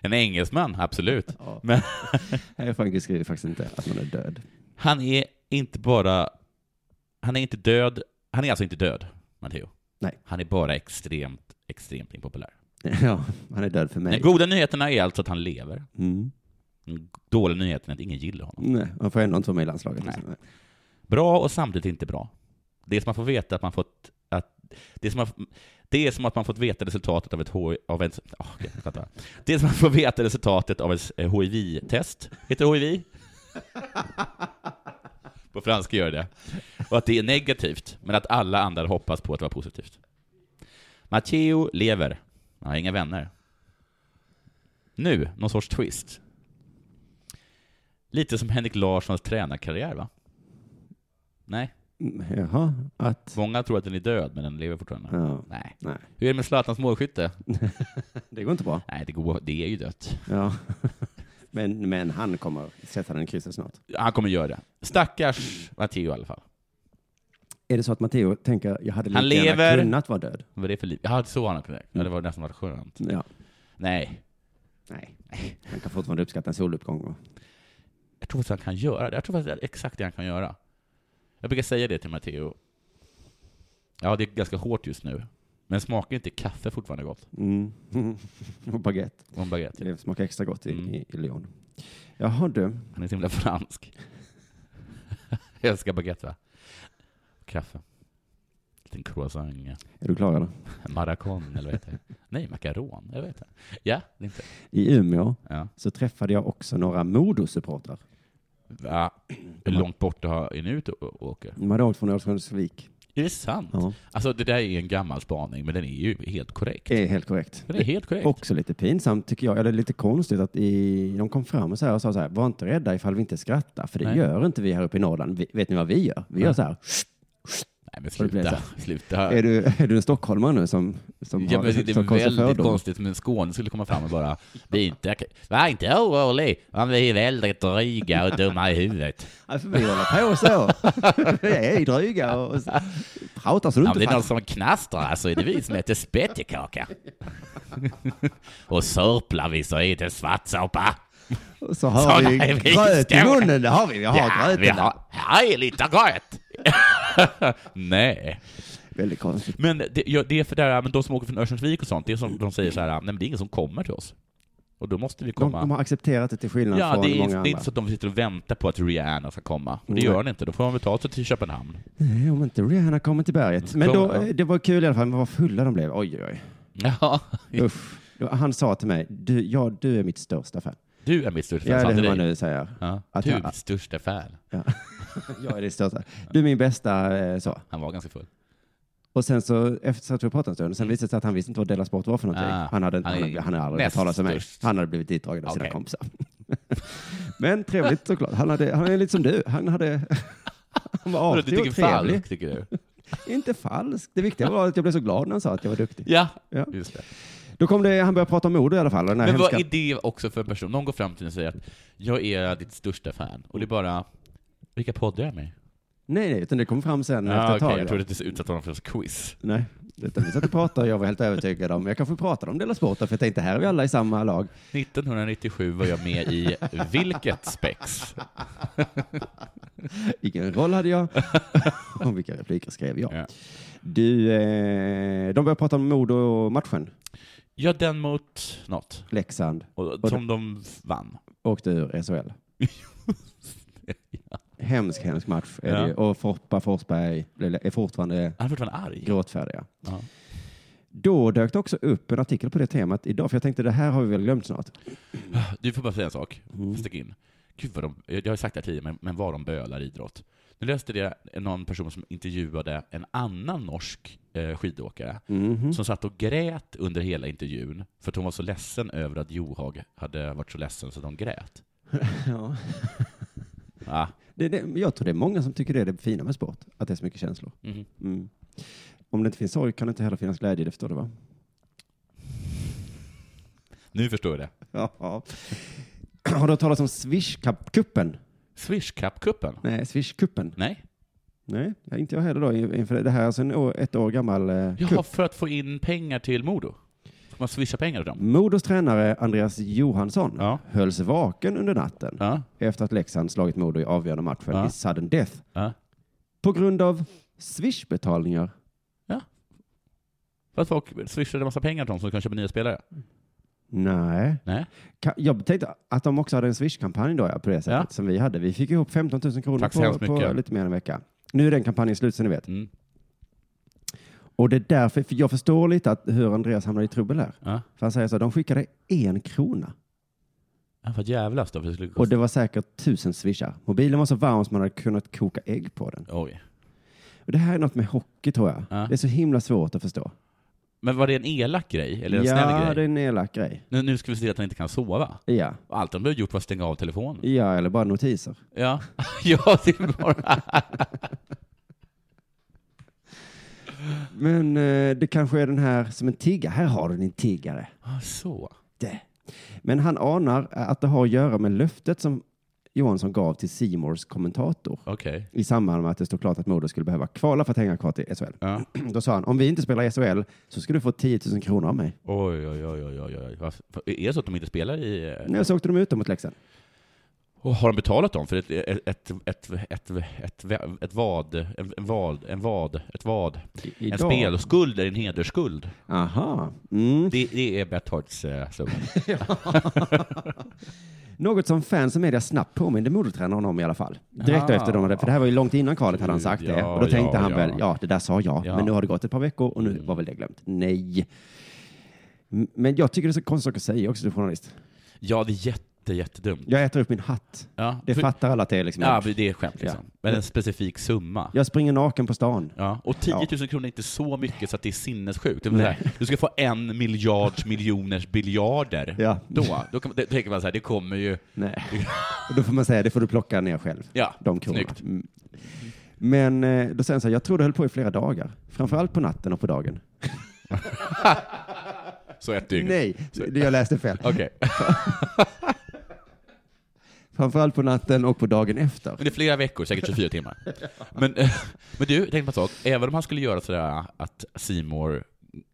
C: En engelsman, absolut. Men
A: Nej, Frankrike skriver faktiskt inte att man är död.
C: han är inte bara... Han är inte död. Han är alltså inte död, Matteo.
A: Nej.
C: Han är bara extremt, extremt impopulär.
A: Ja, han är död för
C: Den
A: mig.
C: goda nyheterna är alltså att han lever.
A: Mm.
C: Den dåliga nyheten är att ingen gillar honom.
A: Nej, han får ändå inte vara med i landslaget.
C: Nej.
A: Nej.
C: Bra och samtidigt inte bra. Det är som att man får veta att man fått... Att, det, är som att, det är som att man fått veta resultatet av ett H, av en, åh, jag kan inte prata. Det är som att man får veta resultatet av ett eh, HIV-test. Heter det HIV? på franska gör det. Och att det är negativt, men att alla andra hoppas på att det var positivt. Matteo lever. Han har inga vänner. Nu, någon sorts twist. Lite som Henrik Larssons tränarkarriär va? Nej,
A: Mm, Jaha, att...
C: många tror att den är död, men den lever fortfarande.
A: Ja,
C: Nej.
A: nej,
C: Hur är det med Zlatans målskytte?
A: det går inte bra.
C: Nej, det, går, det är ju dött.
A: Ja. men, men han kommer sätta den i krysset snart.
C: Han kommer göra det. Stackars Matteo i alla fall.
A: Är det så att Matteo tänker jag hade lika
C: Han
A: gärna
C: lever.
A: kunnat vara död?
C: Vad är det för liv? Ja, så var han på väg. Ja, det var nästan varit skönt.
A: Ja.
C: Nej,
A: Nej. Han kan fortfarande uppskatta en soluppgång. och-
C: jag tror faktiskt han kan göra det. Jag tror faktiskt det är exakt det han kan göra. Jag brukar säga det till Matteo. Ja, det är ganska hårt just nu. Men smakar inte kaffe fortfarande gott?
A: Mm. och baguette.
C: Och en baguette.
A: Det smakar extra gott i,
C: Mm.
A: i, i Lyon. Jaha du.
C: Han är så himla fransk. jag älskar baguette, va? Kaffe. Liten croissant. ja.
A: Är du klar eller?
C: Maracon, eller vad heter det? Nej, macaron. Jag vet inte. Ja, det är inte.
A: I Umeå
C: Ja.
A: så träffade jag också några Modo-supportrar.
C: Va? Hur långt bort har Inut å- å- åker?
A: De hade åkt från Örnsköldsvik.
C: Är det sant?
A: Ja.
C: Alltså, det där är en gammal spaning, men den är ju helt korrekt.
A: Är helt korrekt.
C: Den är helt korrekt.
A: Också lite pinsamt tycker jag, eller lite konstigt att i, de kom fram och, så här och sa så här, var inte rädda ifall vi inte skrattar, för det
C: Nej.
A: gör inte vi här uppe i Norrland. Vi, vet ni vad vi gör? Vi gör så här,
C: Nej, men
A: Får det bli
C: sluta. sluta.
A: är, du, är du en stockholmare nu som, som
C: Ja, men det
A: som kommer
C: är
A: sig
C: väldigt
A: fördomar?
C: konstigt om en skåning skulle komma fram och bara vi är inte, var inte orolig, men vi är väldigt dryga och dumma i huvudet.
A: Ja, för vi håller på så. vi är dryga och, och så- pratar så du
C: Om
A: inte
C: det är någon
A: fattar.
C: som knastrar så är det vi som äter spettekaka. och sörplar vi så är det svartsåpa.
A: Och Så
C: Såna
A: har
C: är
A: vi
C: vi
A: gröt i
C: stora.
A: munnen, det har vi. Vi har gröten
C: vi
A: där.
C: har, här är lite gröt. Nej.
A: Väldigt konstigt.
C: Men det, ja, det är för det här, men de som åker från Örnsköldsvik och sånt, det är som de säger så här, nej men det är ingen som kommer till oss. Och då måste vi
A: De,
C: komma.
A: de har accepterat det till skillnad
C: Ja,
A: från
C: det är,
A: många
C: det är
A: andra.
C: inte så att de sitter och väntar på att Rihanna ska komma. Och det
A: Nej.
C: gör han inte. Då får han betalt sig till Köpenhamn.
A: Nej, om inte Rihanna kommer till berget. Men då,
C: Kommer, ja.
A: eh, det var kul i alla fall, men vad fulla de blev. Oj, oj,
C: Ja.
A: oj. Usch. Då- Han sa till mig, du, ja, du är mitt största fan.
C: Du är mitt största
A: Ja,
C: fan.
A: det är
C: sa
A: hur man
C: till dig.
A: nu säger.
C: Ja.
A: Att
C: Du är
A: jag-
C: mitt största fan.
A: Ja. jag är ditt största. Du är min bästa, eh, så.
C: Han var ganska full.
A: Och sen så, efter satt vi och pratade en stund, sen visade det sig att han visste inte vad Della Sport var för någonting.
C: Mm. Ah,
A: han, hade, han,
C: han är
A: hade, han hade aldrig hört
C: näst
A: talas om mig.
C: störst.
A: Han hade blivit ditdragen av sina
C: Okej.
A: kompisar. Men trevligt såklart. Han, hade, han är lite som du. Han, hade, han var
C: du
A: artig
C: tycker
A: och trevlig.
C: falsk, tycker du?
A: Inte falsk. Det viktiga var att jag blev så glad när han sa att jag var duktig.
C: Ja,
A: Ja.
C: just det.
A: Då kom det, han började prata om Modo i alla fall. och Den här
C: Men vad
A: hemska-
C: är det också för en person? Någon går fram till dig och säger att jag är ditt största fan. Och det är bara, vilka poddar är jag med i?
A: Nej, nej, utan det kom fram sen efter
C: Ja,
A: ett
C: Ah, okej,
A: tag.
C: jag trodde att du utsatte honom för ett quiz.
A: Nej, utan vi satt och pratade och jag var helt övertygad om, jag kanske pratade om Della Sport, för jag tänkte här är vi alla i samma lag.
C: 1997 var jag med i vilket spex?
A: Vilken roll hade jag? Och vilka repliker skrev jag?
C: Ja.
A: Du, eh, de började prata om Modo-matchen.
C: ja, den mot något.
A: Leksand
C: Och, som de vann.
A: åkte ur SHL. Hemsk, hemsk match. Är det
C: Ja.
A: ju. Och Foppa Forsberg blev- är fortfarande
C: Han är fortfarande arg.
A: gråtfärdiga.
C: Ja.
A: Då dök det också upp en artikel på det temat idag, för jag tänkte det här har vi väl glömt snart.
C: Du får bara säga en sak.
A: Mm.
C: Stick in. Gud vad de, jag har sagt det här tidigare, men, men vad de bölar i idrott. Nu läste det någon person som intervjuade en annan norsk eh, skidåkare som satt och grät under hela intervjun för att hon var så ledsen över att Johag hade varit så ledsen så att hon grät.
A: Ja.
C: Ah.
A: Det, det, jag tror det är många som tycker det är det fina med sport, att det är så mycket känslor.
C: Mhm.
A: Mm. Om det inte finns sorg kan det inte heller finnas glädje, det förstår du va?
C: Nu förstår jag det.
A: Ja. Har du hört talas om Swish-kuppen?
C: Swish Cup-cupen?
A: Nej, Swish-kuppen.
C: Nej?
A: Nej, ja, inte jag heller då inför det. Det här är alltså en år, ett år gammal eh,
C: Jaha,
A: kupp.
C: för att få in pengar till Modo? Får man swisha pengar till dem?
A: Modos tränare Andreas Johansson
C: Ja.
A: hölls vaken under natten
C: Ja.
A: efter att Leksand slagit Modo i avgörande matchen
C: Ja.
A: i sudden death
C: ja.
A: på grund av Swish-betalningar.
C: För att folk swishade en massa pengar till dem så de kan köpa nya spelare?
A: Nej.
C: Nej?
A: Ka- Jag tänkte att de också hade en Swish-kampanj då, ja, på det sättet
C: Ja.
A: som vi hade. Vi fick ihop 15 000 kronor
C: Tack så hemskt
A: på, på
C: mycket.
A: lite mer än en vecka. Nu är den kampanjen slut, så ni vet.
C: Mm.
A: Och det är därför, för jag förstår lite att, hur Andreas hamnade i trubbel här.
C: Ja.
A: För han säger så här, de skickade en krona.
C: Ja, för att jävlas då, för det skulle kosta...
A: Och det var säkert tusen swishar. Mobilen var så varm som man hade kunnat koka ägg på den.
C: Oj.
A: Och det här är något med hockey tror jag.
C: Ja.
A: Det är så himla svårt att förstå.
C: Men var det en elak grej? Eller en snäll
A: ja,
C: grej?
A: det är en elak grej.
C: Nu, nu ska vi se att han inte kan sova.
A: Ja.
C: Och Allt han behöver gjort var att stänga av telefonen.
A: ja, eller bara notiser.
C: Ja, ja det är bara...
A: Men eh, det kanske är den här som en tiggare. Här har du din tiggare.
C: Ah, Så.
A: Det. Men han anar att det har att göra med löftet som Johansson gav till Simors kommentator
C: Okej.
A: i samband med att det stod klart att Modo skulle behöva kvala för att hänga kvar till SHL.
C: Ja.
A: Då sa han, om vi inte spelar i SHL så ska du få 10 000 kronor av mig.
C: Oj, oj, oj, oj, oj, oj. Varför- Är det så att de inte spelar i... eh,
A: Nej, så åkte de ut dem mot Leksand.
C: Och har de betalat dem för ett, ett, ett, ett, ett, ett, ett vad, en, en vad, en vad, ett vad, en spelskuld är en hedersskuld.
A: Aha. Mm.
C: Det, det är Bethards eh, slogan.
A: Något som fans och media snabbt påminde Modotränaren om i alla fall. Direkt
C: Ah.
A: efter de hade, för det här var ju långt innan kvalet hade han sagt det.
C: Ja,
A: Och då tänkte
C: ja,
A: han
C: ja.
A: väl, ja det där sa jag,
C: Ja. Mm.
A: men nu har det gått ett par veckor och nu var väl det glömt. Nej. M- Men jag tycker det är så konstigt att säga också, du journalist.
C: Ja, det är jätte, jättedumt.
A: Jag äter upp min hatt.
C: Ja,
A: Det
C: för-
A: fattar alla att det är liksom.
C: ja, men det är ett skämt liksom.
A: Ja.
C: Men en specifik summa.
A: Jag springer naken på stan.
C: Ja. Och 10 000 kronor är inte så mycket så att det är sinnessjukt. Det är så här, du ska få en miljard miljoners biljarder.
A: Ja.
C: Då, då, kan, man- då tänker man så här, det kommer ju...
A: Nej. Och då får man säga, det får du plocka ner själv.
C: Ja,
A: de kronorna.
C: snyggt.
A: Mm. Men eh, då säger han så här, jag tror det höll på i flera dagar. Framförallt på natten och på dagen.
C: Så ett dygn.
A: Nej, det jag läste fel.
C: Okej.
A: Framförallt på natten och på dagen efter.
C: Men det är flera veckor, säkert 24 timmar. Men, eh, men du, tänk på en sak. Även om han skulle göra sådär att Simor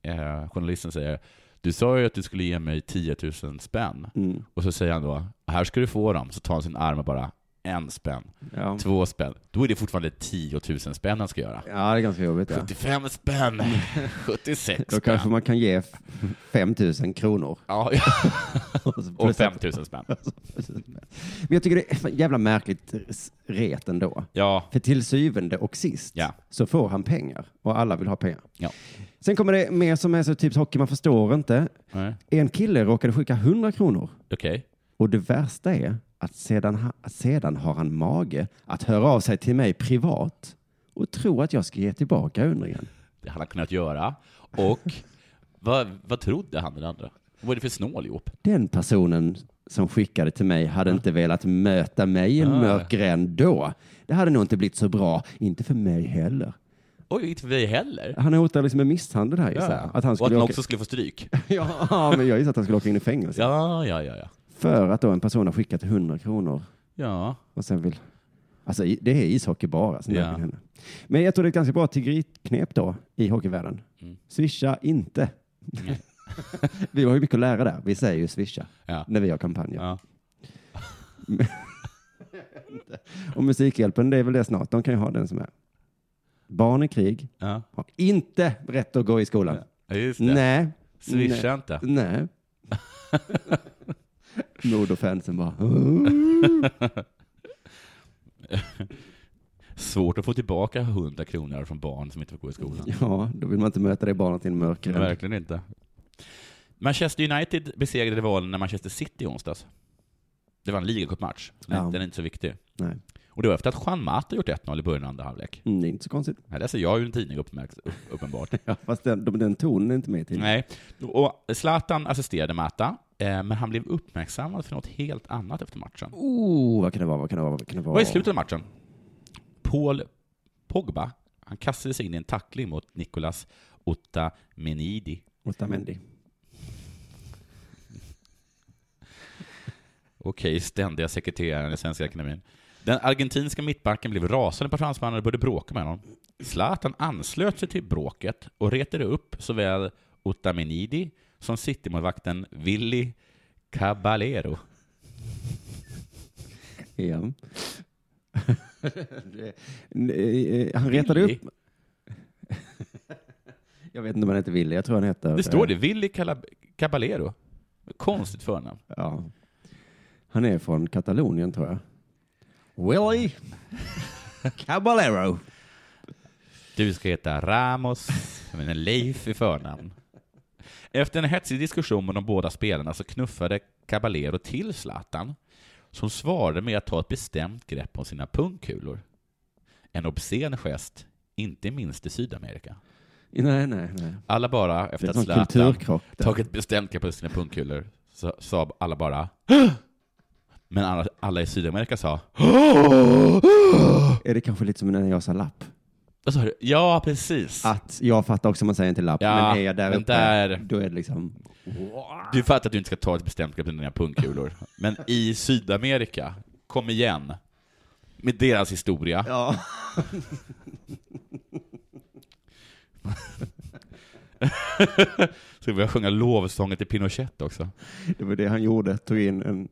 C: eh, journalisten säger du sa ju att du skulle ge mig 10 000 spänn.
A: Mm.
C: Och så säger han då, här ska du få dem. Så tar han sin arm och bara, en spänn,
A: Ja.
C: två spänn. Då är det fortfarande 10 000 spänn han ska göra.
A: ja, det är ganska jobbigt. Ja. Mm.
C: 75 spänn, 76
A: Då kanske
C: spänn.
A: man kan ge f- 5 000 kronor.
C: Ja, ja.
A: så
C: Och
A: plus-
C: 5 000 spänn.
A: Men jag tycker det är fan jävla märkligt s- ret ändå.
C: Ja,
A: För till syvende och sist
C: Ja.
A: så får han pengar och alla vill ha pengar.
C: Ja.
A: Sen kommer det mer som är så typ hockey, man förstår inte.
C: Nej.
A: En kille råkade skicka 100 kronor
C: okej.
A: och det värsta är att sedan, ha- sedan har han mage att höra av sig till mig privat och tro att jag ska ge tillbaka undringen.
C: det han har kunnat göra. Och vad, vad trodde han den andra? Vad är det för snål ihop?
A: den personen som skickade till mig hade inte velat möta mig i en
C: Ah.
A: mörk gränd då. Det hade nog inte blivit så bra, inte för mig heller.
C: Oj, inte vi heller.
A: Han hotar liksom med misshandel här gissar jag. Att han
C: och att
A: skulle
C: han
A: åka...
C: också skulle få stryk.
A: ja, men jag gissar att han skulle åka in i fängelse.
C: Ja, ja, ja, ja.
A: För att då en person har skickat 100 kronor
C: Ja,
A: och sen vill... Alltså i- det är ishockey bara. Som
C: Ja.
A: yeah. henne. Men jag tror det är ett ganska bra tiggeriknep då i hockeyvärlden.
C: Mm.
A: Swisha inte. vi har ju mycket att lära där. Vi säger ju swisha
C: ja.
A: när vi har kampanjer.
C: ja.
A: Och Musikhjälpen, det är väl det snart. De kan ju ha den som är. Barn i krig
C: ja.
A: har inte rätt att gå i skolan.
C: ja just det.
A: Nej.
C: Swisha inte.
A: Nej. Modofansen bara.
C: Svårt att få tillbaka 100 kronor från barn som inte får gå i skolan.
A: Ja, då vill man inte möta det barnet i en mörk gränd.
C: Verkligen inte. Manchester United besegrade rivalerna Manchester City i onsdags. Det var en ligacupmatch. Den,
A: Ja.
C: den är inte så viktig.
A: Nej.
C: Och det var efter att Juan Mata gjort 1-0 i början av andra halvlek.
A: Mm, det är inte så konstigt.
C: Här läser alltså, jag ju en tidning uppmärks, upp- uppenbart.
A: Ja, fast den, de- den tonen är inte med till.
C: Nej, och Zlatan assisterade Mata, eh, men han blev uppmärksammad för något helt annat efter matchen.
A: Oh, vad kan det vara? Vad kan det vara? Vad kan det vara?
C: Vad är slutet av matchen? Paul Pogba, han kastade sig in i en tackling mot Nicolas Otamendi.
A: Otamendi.
C: Okej, ständiga sekreteraren i Svenska Akademien. Den argentinska mittbacken blev rasande på fransmannen och började bråka med honom. Zlatan anslöt sig till bråket och retade upp såväl Otamendi som Citymålvakten Willy Caballero.
A: EM. Det- eh, han retade upp.
C: Willy?
A: Jag vet inte om han heter Willy. Jag tror han heter. eh,
C: Det står det. Willy Calab- Caballero. Konstigt förnamn.
A: Ja. Han är från Katalonien tror jag. Willy Caballero.
C: Du ska heta Ramos, men Leif i förnamn. Efter en hetsig diskussion med de båda spelarna så knuffade Caballero till Zlatan, som svarade med att ta ett bestämt grepp om sina pungkulor. En obscen gest, inte minst i Sydamerika.
A: Nej, nej, nej.
C: Alla bara,
A: Det
C: efter
A: är en
C: att
A: sån
C: Zlatan
A: kulturkrock. där.
C: tagit bestämt grepp på sina pungkulor, så sa alla bara Men alla, alla i Sydamerika sa
A: Är det kanske lite som när jag sa lapp?
C: Vad sa du? Ja, precis.
A: Att jag fattar också man säger inte lapp,
C: Ja,
A: men är jag där
C: men
A: uppe,
C: där-
A: då är det liksom...
C: Du fattar att du inte ska ta ett bestämt grepp under dina pungkulor. Men i Sydamerika, kom igen. Med deras historia.
A: Ja.
C: Ska vi börja sjunga lovsången till Pinochet också?
A: Det var det han gjorde, tog in en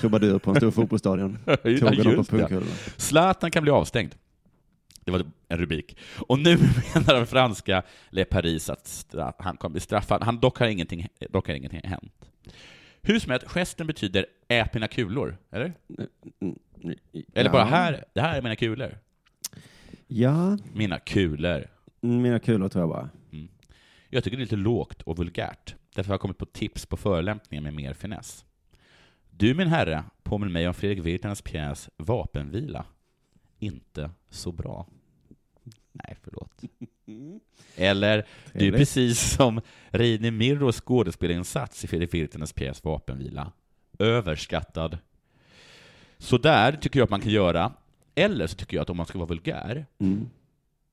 A: trubadur på en stor fotbollsstadion. Tog honom på
C: Just det.
A: pungkulorna.
C: Zlatan kan bli avstängd. Det var en rubrik. Och nu menar den franska Le Paris att stra- han kommer bli straffad. Han dock har ingenting, dock har ingenting hänt. Hur som helst, gesten betyder ät mina kulor, eller? Eller bara
A: Ja.
C: här, det här är mina kulor.
A: Ja,
C: Mina kulor.
A: mina kulor tror jag bara.
C: Jag tycker det är lite lågt och vulgärt. Därför har jag kommit på tips på förolämpningar med mer finess. Du min herre påminner mig om Fredrik Virtanens pjäs Vapenvila. Inte så bra. Nej, förlåt. Eller, du är
A: Trevligt.
C: precis som Reine Mirros skådespelarinsats i Fredrik Virtanens pjäs Vapenvila. Överskattad. Så där tycker jag att man kan göra. Eller så tycker jag att om man ska vara vulgär,
A: Mm.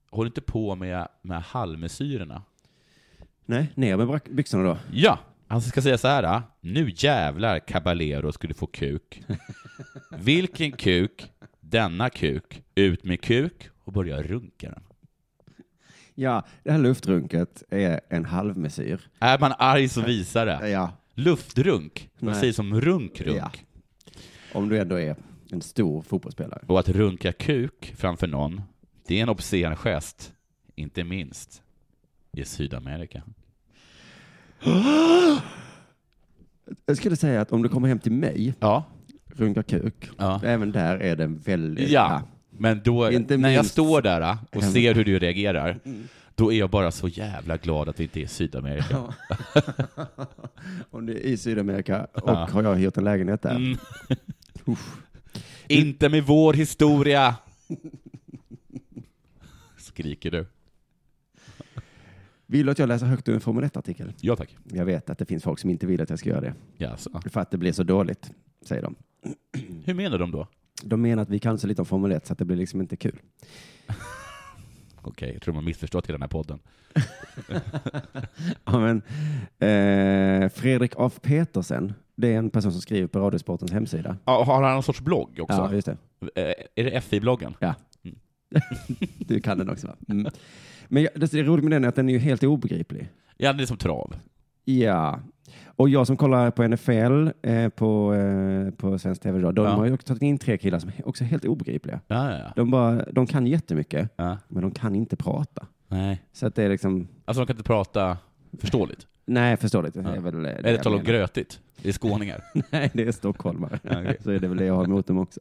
C: håll inte på med, med halvmesyrerna.
A: Nej, ner med brack- byxorna då.
C: Ja, han ska säga så här. ah, Nu jävlar Caballero skulle få kuk. Vilken kuk? Denna kuk. Ut med kuk och börja runka den.
A: Ja, det här luftrunket är en halvmesyr.
C: Är man arg så visar det.
A: Ja,
C: Luftrunk. Man
A: Nej.
C: säger som runkrunk.
A: Ja. om du ändå är en stor fotbollsspelare.
C: Och att runka kuk framför någon, det är en obscen gest. Inte minst i Sydamerika.
A: Jag skulle säga att om du kommer hem till mig,
C: Ja.
A: runkar kuk,
C: Ja.
A: även där är den väldigt...
C: Ja, men då,
A: Inte
C: när jag
A: minst. Mm.
C: står där ah, och ser hur du reagerar, då är jag bara så jävla glad att vi inte är i Sydamerika.
A: Om du är i Sydamerika och
C: Ja.
A: har jag hyrt en lägenhet där.
C: Mm. Inte med vår historia! Skriker du?
A: Vill du att jag läser högt ur en Formel 1-artikel?
C: Ja tack.
A: Jag vet att det finns folk som inte vill att jag ska göra det,
C: Jaså.
A: för att det blir så dåligt, säger de.
C: Hur menar de då?
A: De menar att vi kan så lite om Formel 1 så att det blir liksom inte kul.
C: Okej, jag tror de har missförstått hela den här podden.
A: Ja, men, eh, Fredrik af Petersen, det är en person som skriver på Radiosportens hemsida.
C: Ja, Har han någon sorts blogg
A: Ja,
C: också?
A: just det.
C: Eh, Är det FI-bloggen?
A: Ja.
C: Mm.
A: du kan den också va? Mm. Men jag, det som är roligt med den är att den är ju helt obegriplig.
C: Ja, det är som trav.
A: Ja. Och jag som kollar på NFL eh, på, eh, på svensk tv idag, de
C: Ja.
A: har ju också tagit in tre killar som är också är helt obegripliga.
C: Ja, ja, ja.
A: De, bara, de kan jättemycket,
C: ja.
A: men de kan inte prata.
C: Nej.
A: Så att det är liksom,
C: Alltså de kan inte prata förståeligt?
A: nej förståeligt. Det
C: Ja.
A: är väl eh, det
C: Eller
A: jag
C: tala om
A: menar.
C: grötigt? Det är skåningar.
A: Nej, det är stockholmare.
C: Ja, okej.
A: Så är det väl det jag har emot dem också.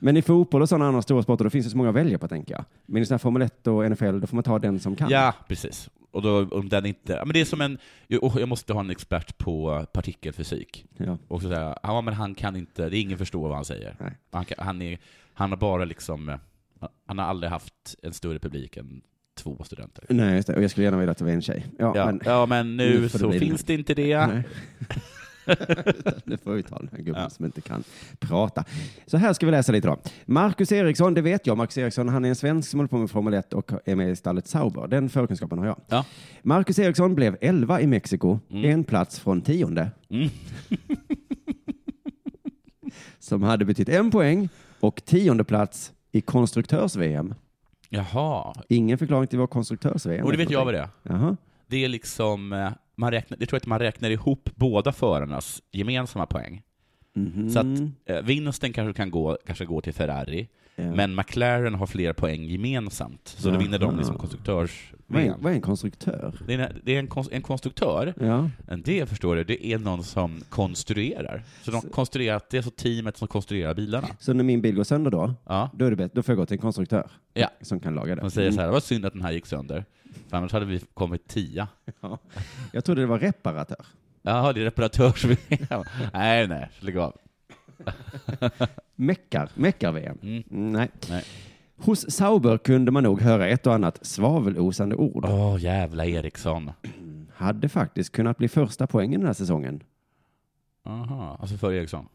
A: Men i fotboll och sådana andra stora sporter, då finns det så många att välja på, tänker jag. Men i sådana här Formel 1 och NFL, då får man ta den som kan.
C: Ja, precis. Och då, om den inte... ja, Men det är som en... jo, och Jag måste ha en expert på partikelfysik.
A: Ja.
C: Och så säger ja men han kan inte, det är ingen förstår vad han säger.
A: Nej.
C: Han, kan, han, är, han har bara liksom, eh, han har aldrig haft en större publik än två studenter.
A: Nej, just det. Och jag skulle gärna vilja att det var en tjej. Ja,
C: Ja,
A: men
C: ja men nu,
A: nu får det
C: så
A: bli den
C: finns det inte det.
A: Nej. nu får vi ta den här gubben
C: Ja.
A: som inte kan prata. Så här ska vi läsa lite då. Marcus Eriksson, det vet jag. Marcus Eriksson, han är en svensk som håller på med Formel 1 och är med i stallet Sauber. Den förkunskapen har jag.
C: Ja.
A: Marcus Eriksson blev 11 i Mexiko, en plats från tionde.
C: Mm.
A: som hade betytt en poäng och tionde plats i konstruktörs-VM.
C: Jaha.
A: Ingen förklaring till vad konstruktörs-VM
C: Och det
A: är
C: vet
A: för
C: jag vad
A: någonting.
C: det är.
A: Jaha.
C: Det är liksom, eh, man räknar, jag tror att man räknar ihop båda förarnas gemensamma poäng.
A: Mhm.
C: Så att eh, vinsten kanske kan gå, kanske går till Ferrari,
A: Ja.
C: men McLaren har fler poäng gemensamt, så då vinner de
A: Jaha.
C: liksom konstruktörs...
A: vad, är, vad är en konstruktör?
C: Det är en, det är en, konst, en konstruktör
A: Ja.
C: Men Det förstår du, det är någon som konstruerar. Så de konstruerar, det är så teamet som konstruerar bilarna.
A: Så när min bil går sönder då,
C: Ja.
A: då, är det bättre, då får jag gå till en konstruktör
C: Ja.
A: som kan laga det.
C: De säger så här, det var synd att den här gick sönder, för annars hade vi kommit tia.
A: Ja. Mm. Jag trodde det var reparatör.
C: Jaha, det är reparatörs Nej, nej, lägg av.
A: Meckar, meckar-VM.
C: Mm.
A: Mm, Nej.
C: Nej.
A: Hos Sauber kunde man nog höra ett och annat svavelosande ord.
C: Åh, jävla Eriksson.
A: Hade faktiskt kunnat bli första poängen den här säsongen.
C: Aha, alltså för Eriksson.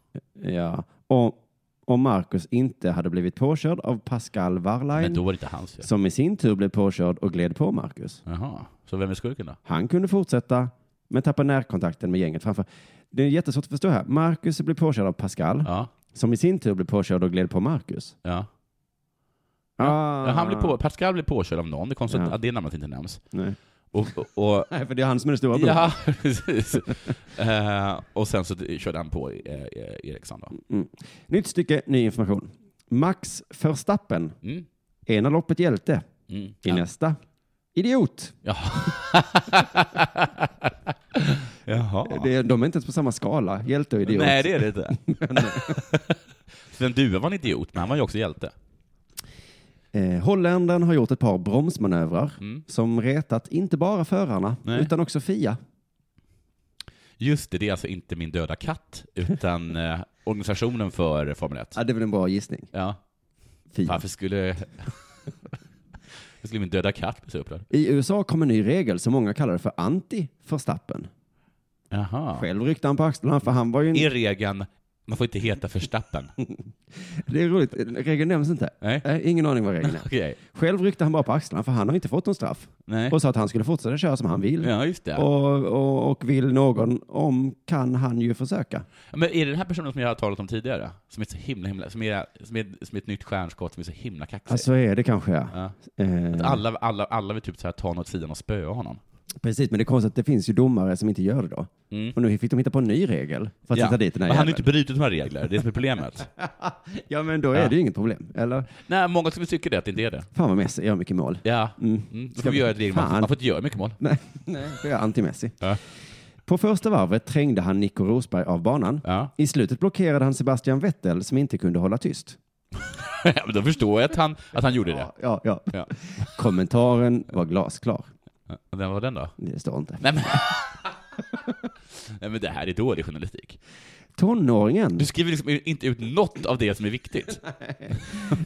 A: Ja. Och, om Marcus inte hade blivit påkörd av Pascal
C: Men
A: Wehrlein,
C: då var det inte hans fel.
A: som i sin tur blev påkörd och gled på Marcus.
C: Jaha, så vem är skurken då?
A: Han kunde fortsätta, men tappade närkontakten med gänget framför. Det är jättesvårt att förstå här. Marcus blev påkörd av Pascal,
C: Ja,
A: som i sin tur blev påkörd och gled på Marcus.
C: ja.
A: Ah.
C: ja han blir på, Pascal blir påkörd av någon, det är konstigt
A: Ja.
C: att det namnet inte nämns.
A: Nej.
C: Och, och, och,
A: Nej, för det är han som är den stora brodern.
C: ja, precis. Eh, och sen så körde han på eh, eh, Eriksson då.
A: Nytt stycke, ny information. Max Verstappen,
C: Mm.
A: ena loppet hjälte,
C: Mm.
A: i nästa idiot.
C: Jaha.
A: Det, de är inte ens på samma skala, hjälte och idiot.
C: Nej, det är det inte. Sven Due var en idiot, men han var ju också hjälte.
A: Eh, Holländaren har gjort ett par bromsmanövrar
C: Mm.
A: som retat inte bara förarna
C: Nej.
A: utan också Fia.
C: Just det, det är alltså inte min döda katt, utan eh, organisationen för Formel 1.
A: Ja, det är väl en bra gissning.
C: Ja.
A: Fia.
C: Varför skulle... Varför skulle min döda katt bli så upprörd?
A: I USA kom en ny regel som många kallar för anti-förstappen.
C: Jaha.
A: Själv ryckte han på axlarna för han var ju en...
C: Är regeln, man får inte heta Verstappen?
A: Det är roligt, regeln nämns inte.
C: Nej.
A: Nej, ingen aning vad regeln är.
C: Okej.
A: Själv ryckte han bara på axlarna för han har inte fått någon straff.
C: Nej.
A: Och sa att han skulle fortsätta köra som han vill.
C: Ja, just det.
A: Och, och, och vill någon om kan han ju försöka.
C: Men är det den här personen som jag har talat om tidigare? Som är så himla, himla... Som är, som är, som är ett nytt stjärnskott som är så himla kaxig?
A: Alltså är det kanske
C: Ja.
A: Eh,
C: Alla, alla, alla vill typ så här ta honom åt sidan och spöa honom.
A: Precis, men det är konstigt att det finns ju domare som inte gör det då.
C: Mm.
A: Och nu fick de hitta på en ny regel för att sätta dit den här
C: Men han har
A: jäveln.
C: ju inte brutit några regler, det är det som är problemet.
A: Ja, men då är
C: Ja.
A: det ju inget problem. Eller?
C: Nej, många skulle tycka det, att det inte är det.
A: Fan vad Messi gör mycket mål.
C: Ja. Mm. Då
A: Ska
C: får vi
A: vi-
C: göra ett regel, man,
A: Fan.
C: man får inte göra mycket mål.
A: Nej, nej. För jag är anti-Messi.
C: Ja.
A: På första varvet trängde han Nico Rosberg av banan.
C: Ja.
A: I slutet blockerade han Sebastian Vettel som inte kunde hålla tyst.
C: Men då förstår jag att han, att han gjorde det.
A: Ja, ja, ja.
C: Ja.
A: Kommentaren var glasklar.
C: Och Den var den då?
A: Det står inte.
C: Nej men... Nej men det här är dålig journalistik.
A: Tonåringen.
C: Du skriver liksom inte ut något av det som är viktigt.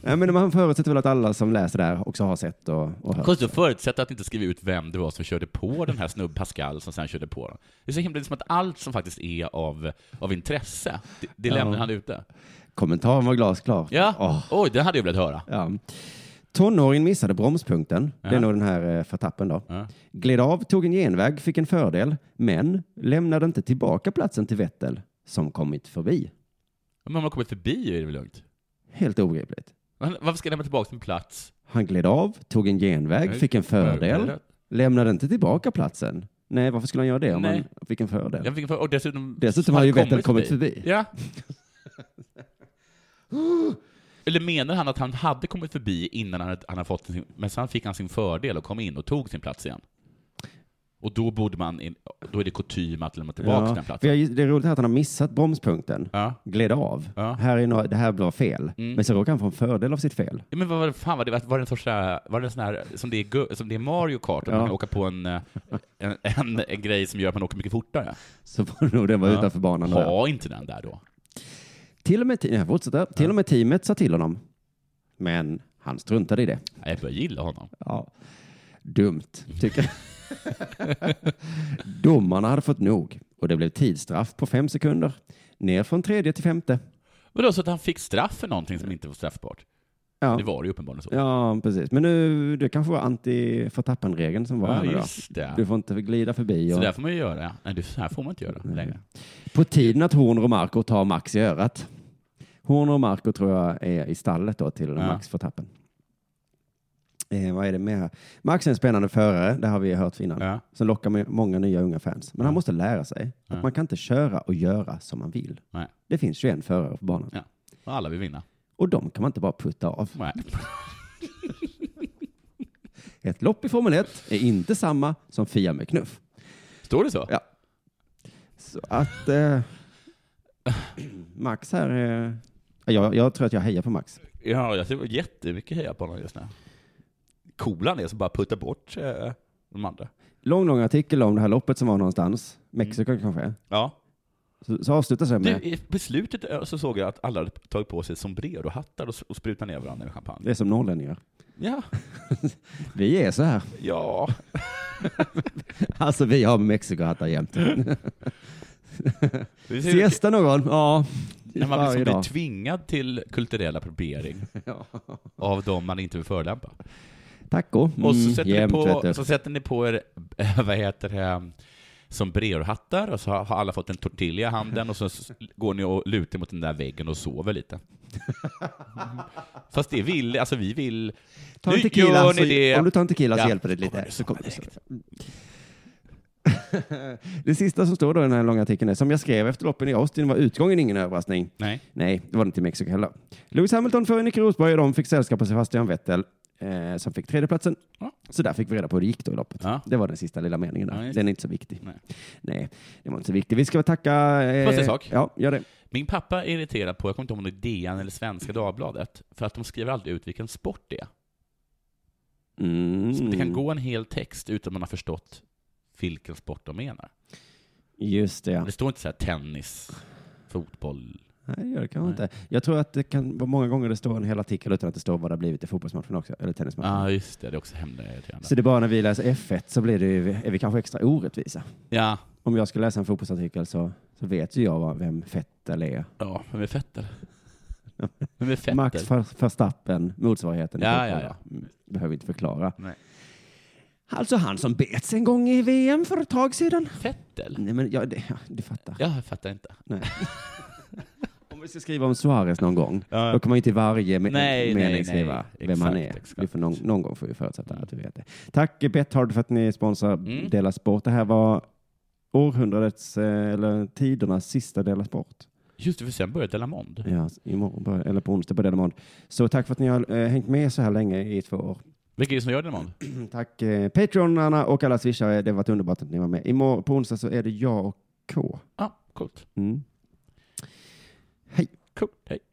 A: Nej, men man förutsätter väl att alla som läser det här också har sett och, och hört.
C: Konstigt att förutsätta att inte skriva ut vem det var som körde på den här snubb Pascal som sen körde på den. Det är så himla liksom att allt som faktiskt är av, av intresse, det, det lämnar han ute.
A: Kommentaren var glasklar.
C: Ja,
A: Åh,
C: oj, det hade jag velat höra.
A: ja. Tonåringen missade bromspunkten. Det är nog den här eh, förtappen då.
C: Ja.
A: Gled av, tog en genväg, fick en fördel, men lämnade inte tillbaka platsen till Vettel som kommit förbi.
C: Men om man kommit förbi är det väl lugnt?
A: Helt obegripligt.
C: Men Varför ska jag lämna tillbaka sin plats?
A: Han gled av, tog en genväg,
C: Nej,
A: fick en fördel,
C: fördel.
A: lämnade inte tillbaka platsen. Nej, varför skulle han göra det om
C: Nej.
A: han fick en fördel?
C: Jag fick en för- och dessutom...
A: Dessutom har ju Vettel kommit förbi.
C: Ja. Eller menar han att han hade kommit förbi innan han hade, han hade fått sin... Men sen fick han sin fördel och kom in och tog sin plats igen. Och då borde man... In, då är det kutym att lämna tillbaka den
A: för
C: platsen.
A: jag, det är roligt här att han har missat bromspunkten,
C: Ja.
A: gled av.
C: Ja. Mm.
A: Här är några, det här blir fel, men så råkar han få en fördel av sitt fel.
C: Ja, Men vad var det, fan var det, var det en sorts där, var det en sån här, som det är, gu- som det är Mario Kart, och
A: Ja.
C: man kan åka på en, eh, en, en, en grej som gör att man åker mycket fortare?
A: Så var det nog den var
C: Ja.
A: utanför banan. då, ja.
C: Ha inte den där då.
A: Till och med, ti- nej, fortsätter. Till och med teamet sa till honom. Men han struntade i det.
C: Jag börjar gilla honom.
A: Ja. Dumt, tycker jag. Domarna hade fått nog och det blev tidsstraff på fem sekunder. Ner från tredje till femte.
C: Vadå, så att han fick straff för någonting som inte var straffbart?
A: Ja,
C: Det var det ju uppenbarligen så.
A: ja precis. Men nu, det kanske var anti-förtappen-regeln som var här nu då.
C: just det.
A: Du får inte glida förbi.
C: Så
A: Och...
C: där får man ju göra. Nej, det- så här får man inte göra längre.
A: På tiden att Horner och Marco tar Max i örat. Horner och Marco tror jag är i stallet då till Max Verstappen. Eh, vad är det med här? Max är en spännande förare, det har vi hört innan,
C: Ja.
A: som lockar med många nya unga fans. Men han måste lära sig
C: Ja.
A: att man kan inte köra och göra som man vill.
C: Nej.
A: Det finns 21 förare på banan
C: Ja. Och alla vill vinna.
A: och de kan man inte bara putta av.
C: Nej.
A: Ett lopp i Formel 1 är inte samma som Fia med knuff.
C: Står det så?
A: Ja. Så att eh, Max här, eh, jag, jag tror att jag hejar på Max.
C: Ja, jag ser jättemycket heja på honom just nu. Coola han är som bara puttar bort eh, de andra.
A: Mm. lång, lång artikel om det här loppet som var någonstans. Mexiko kanske.
C: Ja.
A: Så, så avslutas det
C: Du,
A: med,
C: i beslutet ö, så såg jag att alla hade tagit på sig sombrerohattar och, s- och sprutat ner varandra med champagne.
A: det är som norrlänningar.
C: Ja,
A: Vi är så här.
C: ja.
A: Alltså vi har Mexikohattar jämt.
C: Det är ju-
A: Siesta någon? Ja.
C: när man
A: varje
C: liksom blir
A: dag.
C: tvingad till kulturell appropriering
A: Ja.
C: av de man inte vill förolämpa.
A: Taco. Mm,
C: Och så sätter,
A: jämt,
C: ni på,
A: vet du.
C: så sätter ni på er, vad heter det, sombrerohattar och så har har alla fått en tortilla i handen och så s- går ni och lutar mot den där väggen och sover lite. Fast det vill, alltså vi vill...
A: Ta
C: Nu
A: en tequila,
C: gör
A: så,
C: ni det.
A: Om du tar en tequila så
C: Ja,
A: hjälper det
C: så
A: lite.
C: kommer det
A: Så kommer
C: komma
A: det. det sista som står då i den här långa artikeln är, som jag skrev efter loppen i Austin var utgången ingen överraskning.
C: Nej.
A: Nej, det var det inte i Mexiko heller. Lewis Hamilton före Nico Rosberg och de fick sällskap av Sebastian Vettel eh, som fick tredjeplatsen.
C: Ja.
A: Så där fick vi reda på hur det gick då i loppet.
C: Ja.
A: Det var den sista lilla meningen
C: Ja,
A: där.
C: just
A: den är inte så viktig.
C: Nej.
A: Nej, det var inte så viktigt. Vi ska väl tacka... Eh,
C: Fast en sak.
A: Ja, gör det.
C: Min pappa är irriterad på, jag kommer inte ihåg om det är DN eller Svenska Dagbladet, för att de skriver aldrig ut vilken sport det är.
A: Mm.
C: Så det kan gå en hel text utan man har förstått vilken sport de menar.
A: Mm, Just det, ja.
C: Det står inte så här tennis, fotboll.
A: Nej, det gör det kanske inte. Jag tror att det kan vara många gånger det står en hel artikel utan att det står vad det har blivit i fotbollsmatchen också, eller
C: Ja,
A: tennismatchen.
C: ah, just det. Det är också hemligt irriterande.
A: Så det är bara när vi läser F1 så blir det ju, är vi kanske extra orättvisa.
C: Ja,
A: Om jag ska läsa en fotbollsartikel så, så vet ju jag vad, vem Vettel är.
C: ja, vem är Fetter? Vem är Fetter?
A: Max Ver- Verstappen, motsvarigheten. i
C: Ja,
A: fotboll,
C: ja, ja.
A: va? Mm, Behöver inte förklara.
C: Nej.
A: Alltså han som bets en gång i VM för ett tag sedan.
C: Fettel?
A: Nej, men ja, det, ja, du fattar.
C: Ja, jag fattar inte.
A: Om vi ska skriva om Suarez någon gång,
C: Ja.
A: då kan man ju inte i varje me-
C: Nej,
A: mening
C: nej, nej.
A: skriva vem
C: Exakt,
A: han är.
C: exakt.
A: Du får någon, någon gång får vi förutsätta att du vet det. Tack Betthard för att ni sponsrar
C: Mm.
A: Dela Sport. Det här var århundradets, eh, eller tidernas sista Dela Sport.
C: Just det, för sen började Delamond.
A: Ja, imorgon, bör- eller på onsdag på Dela Månd. Så tack för att ni har eh, hängt med så här länge i två år.
C: Vilka är det som gör Delamond?
A: Tack eh, Patreonarna och alla swishare. Det har varit underbart att ni var med. Imorgon, på onsdag så är det jag och K.
C: Ja, ah, coolt.
A: Mm.
C: Coolt. Hej.